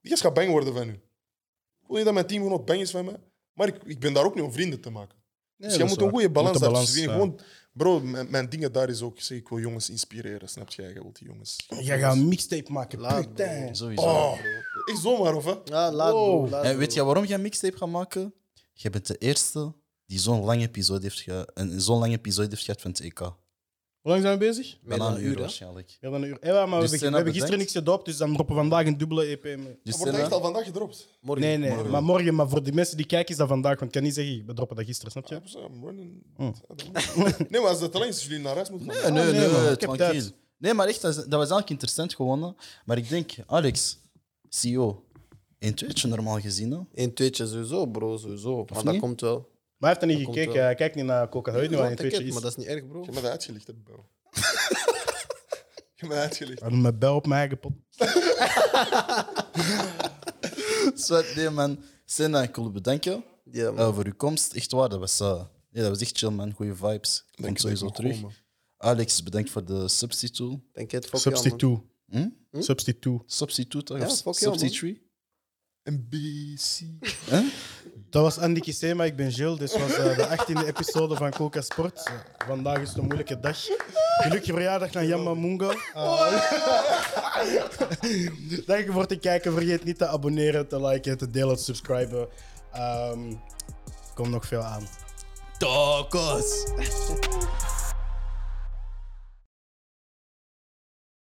A: Die gast gaat bang worden van u. Ik wil niet dat mijn teamgenoot bang is van mij. Maar ik, ik ben daar ook niet om vrienden te maken. dus jij moet een goede balans hebben. Dus ik weet niet, gewoon- Bro, mijn, mijn dingen daar is ook... Ik, zeg, ik wil jongens inspireren, snap je? Jij wilt die jongens...
C: Jij gaat een mixtape maken,
E: Laat,
C: putain.
D: Sowieso.
A: Oh, ik zomaar, of hè?
E: Ja, laat, bro. Laat,
D: En weet
E: bro.
D: je waarom jij een mixtape gaat maken? Je bent de eerste die zo'n lang episode heeft, ge- een- zo'n lang episode heeft gehad van het EK.
C: Hoe lang zijn we bezig?
D: Bijna een uur
E: hè?
D: waarschijnlijk.
C: Ja, dan een uur. Eh, ja, maar
D: Dus
C: we, hebben- we
D: zijn dat
C: hebben gisteren
D: bedenkt?
C: niks gedoopt, dus dan droppen we vandaag een dubbele EP mee.
A: Wordt
D: Dus Senna-
A: echt al vandaag gedropt?
E: Morgen.
C: Nee, nee, maar morgen. Maar voor de mensen die kijken is dat vandaag, want ik kan niet zeggen, we droppen dat gisteren, snap je?
A: Ja, I'm running. Nee, maar als dat alleen is, jullie naar huis moeten
D: Nee,
A: gaan.
D: nee,
C: nee,
D: nee,
C: man, ik heb
D: tranquil.
C: tijd.
D: Nee, maar echt, dat is- dat was eigenlijk interessant gewoon. hè. Maar ik denk, Alex, E CEO, in Twitch normaal gezien. hè?
E: Eén tweetje sowieso, bro, sowieso. Maar dat
D: niet?
E: komt wel.
C: Maar hij heeft er niet
E: komt
C: gekeken,
E: wel.
C: hij kijkt niet naar Coca. Hij weet niet
E: Ja,
C: wat een
E: ticket,
C: tweetje
E: Maar
C: is.
E: dat is niet erg, bro.
A: Je hebt mij uitgelicht, hè, bro. Je hebt mij uitgelicht.
C: Hij doet mijn bel op mijn eigen pot.
D: Zwet, nee, man. Senna, ik wil je bedanken
E: Ja,
D: Oh.
E: man.
D: eh, voor uw komst. Echt waar, dat was, eh, ja, dat was echt chill, man. Goede vibes. Komt
A: je,
D: sowieso
A: dank je
D: terug.
A: wel, man.
D: Alex, bedankt voor de substitute.
E: Denk je het fuck jou, man.
C: Substitute.
D: Hm?
C: Substitute.
D: Substitute, toch?
E: Ja,
D: Of
E: fuck jou, man.
D: substitute?
A: NBC.
C: Dat was Andy Kissé, maar ik ben Gilles. Dit was eh, de 18e episode van Coca Sport. Eh, vandaag is het een moeilijke dag. Gelukkige verjaardag aan Jamma Mungo. Eh, Dank je voor het kijken. Vergeet niet te abonneren, te liken, te delen, te subscriben. Ehm, er komt nog veel aan.
D: Tacos!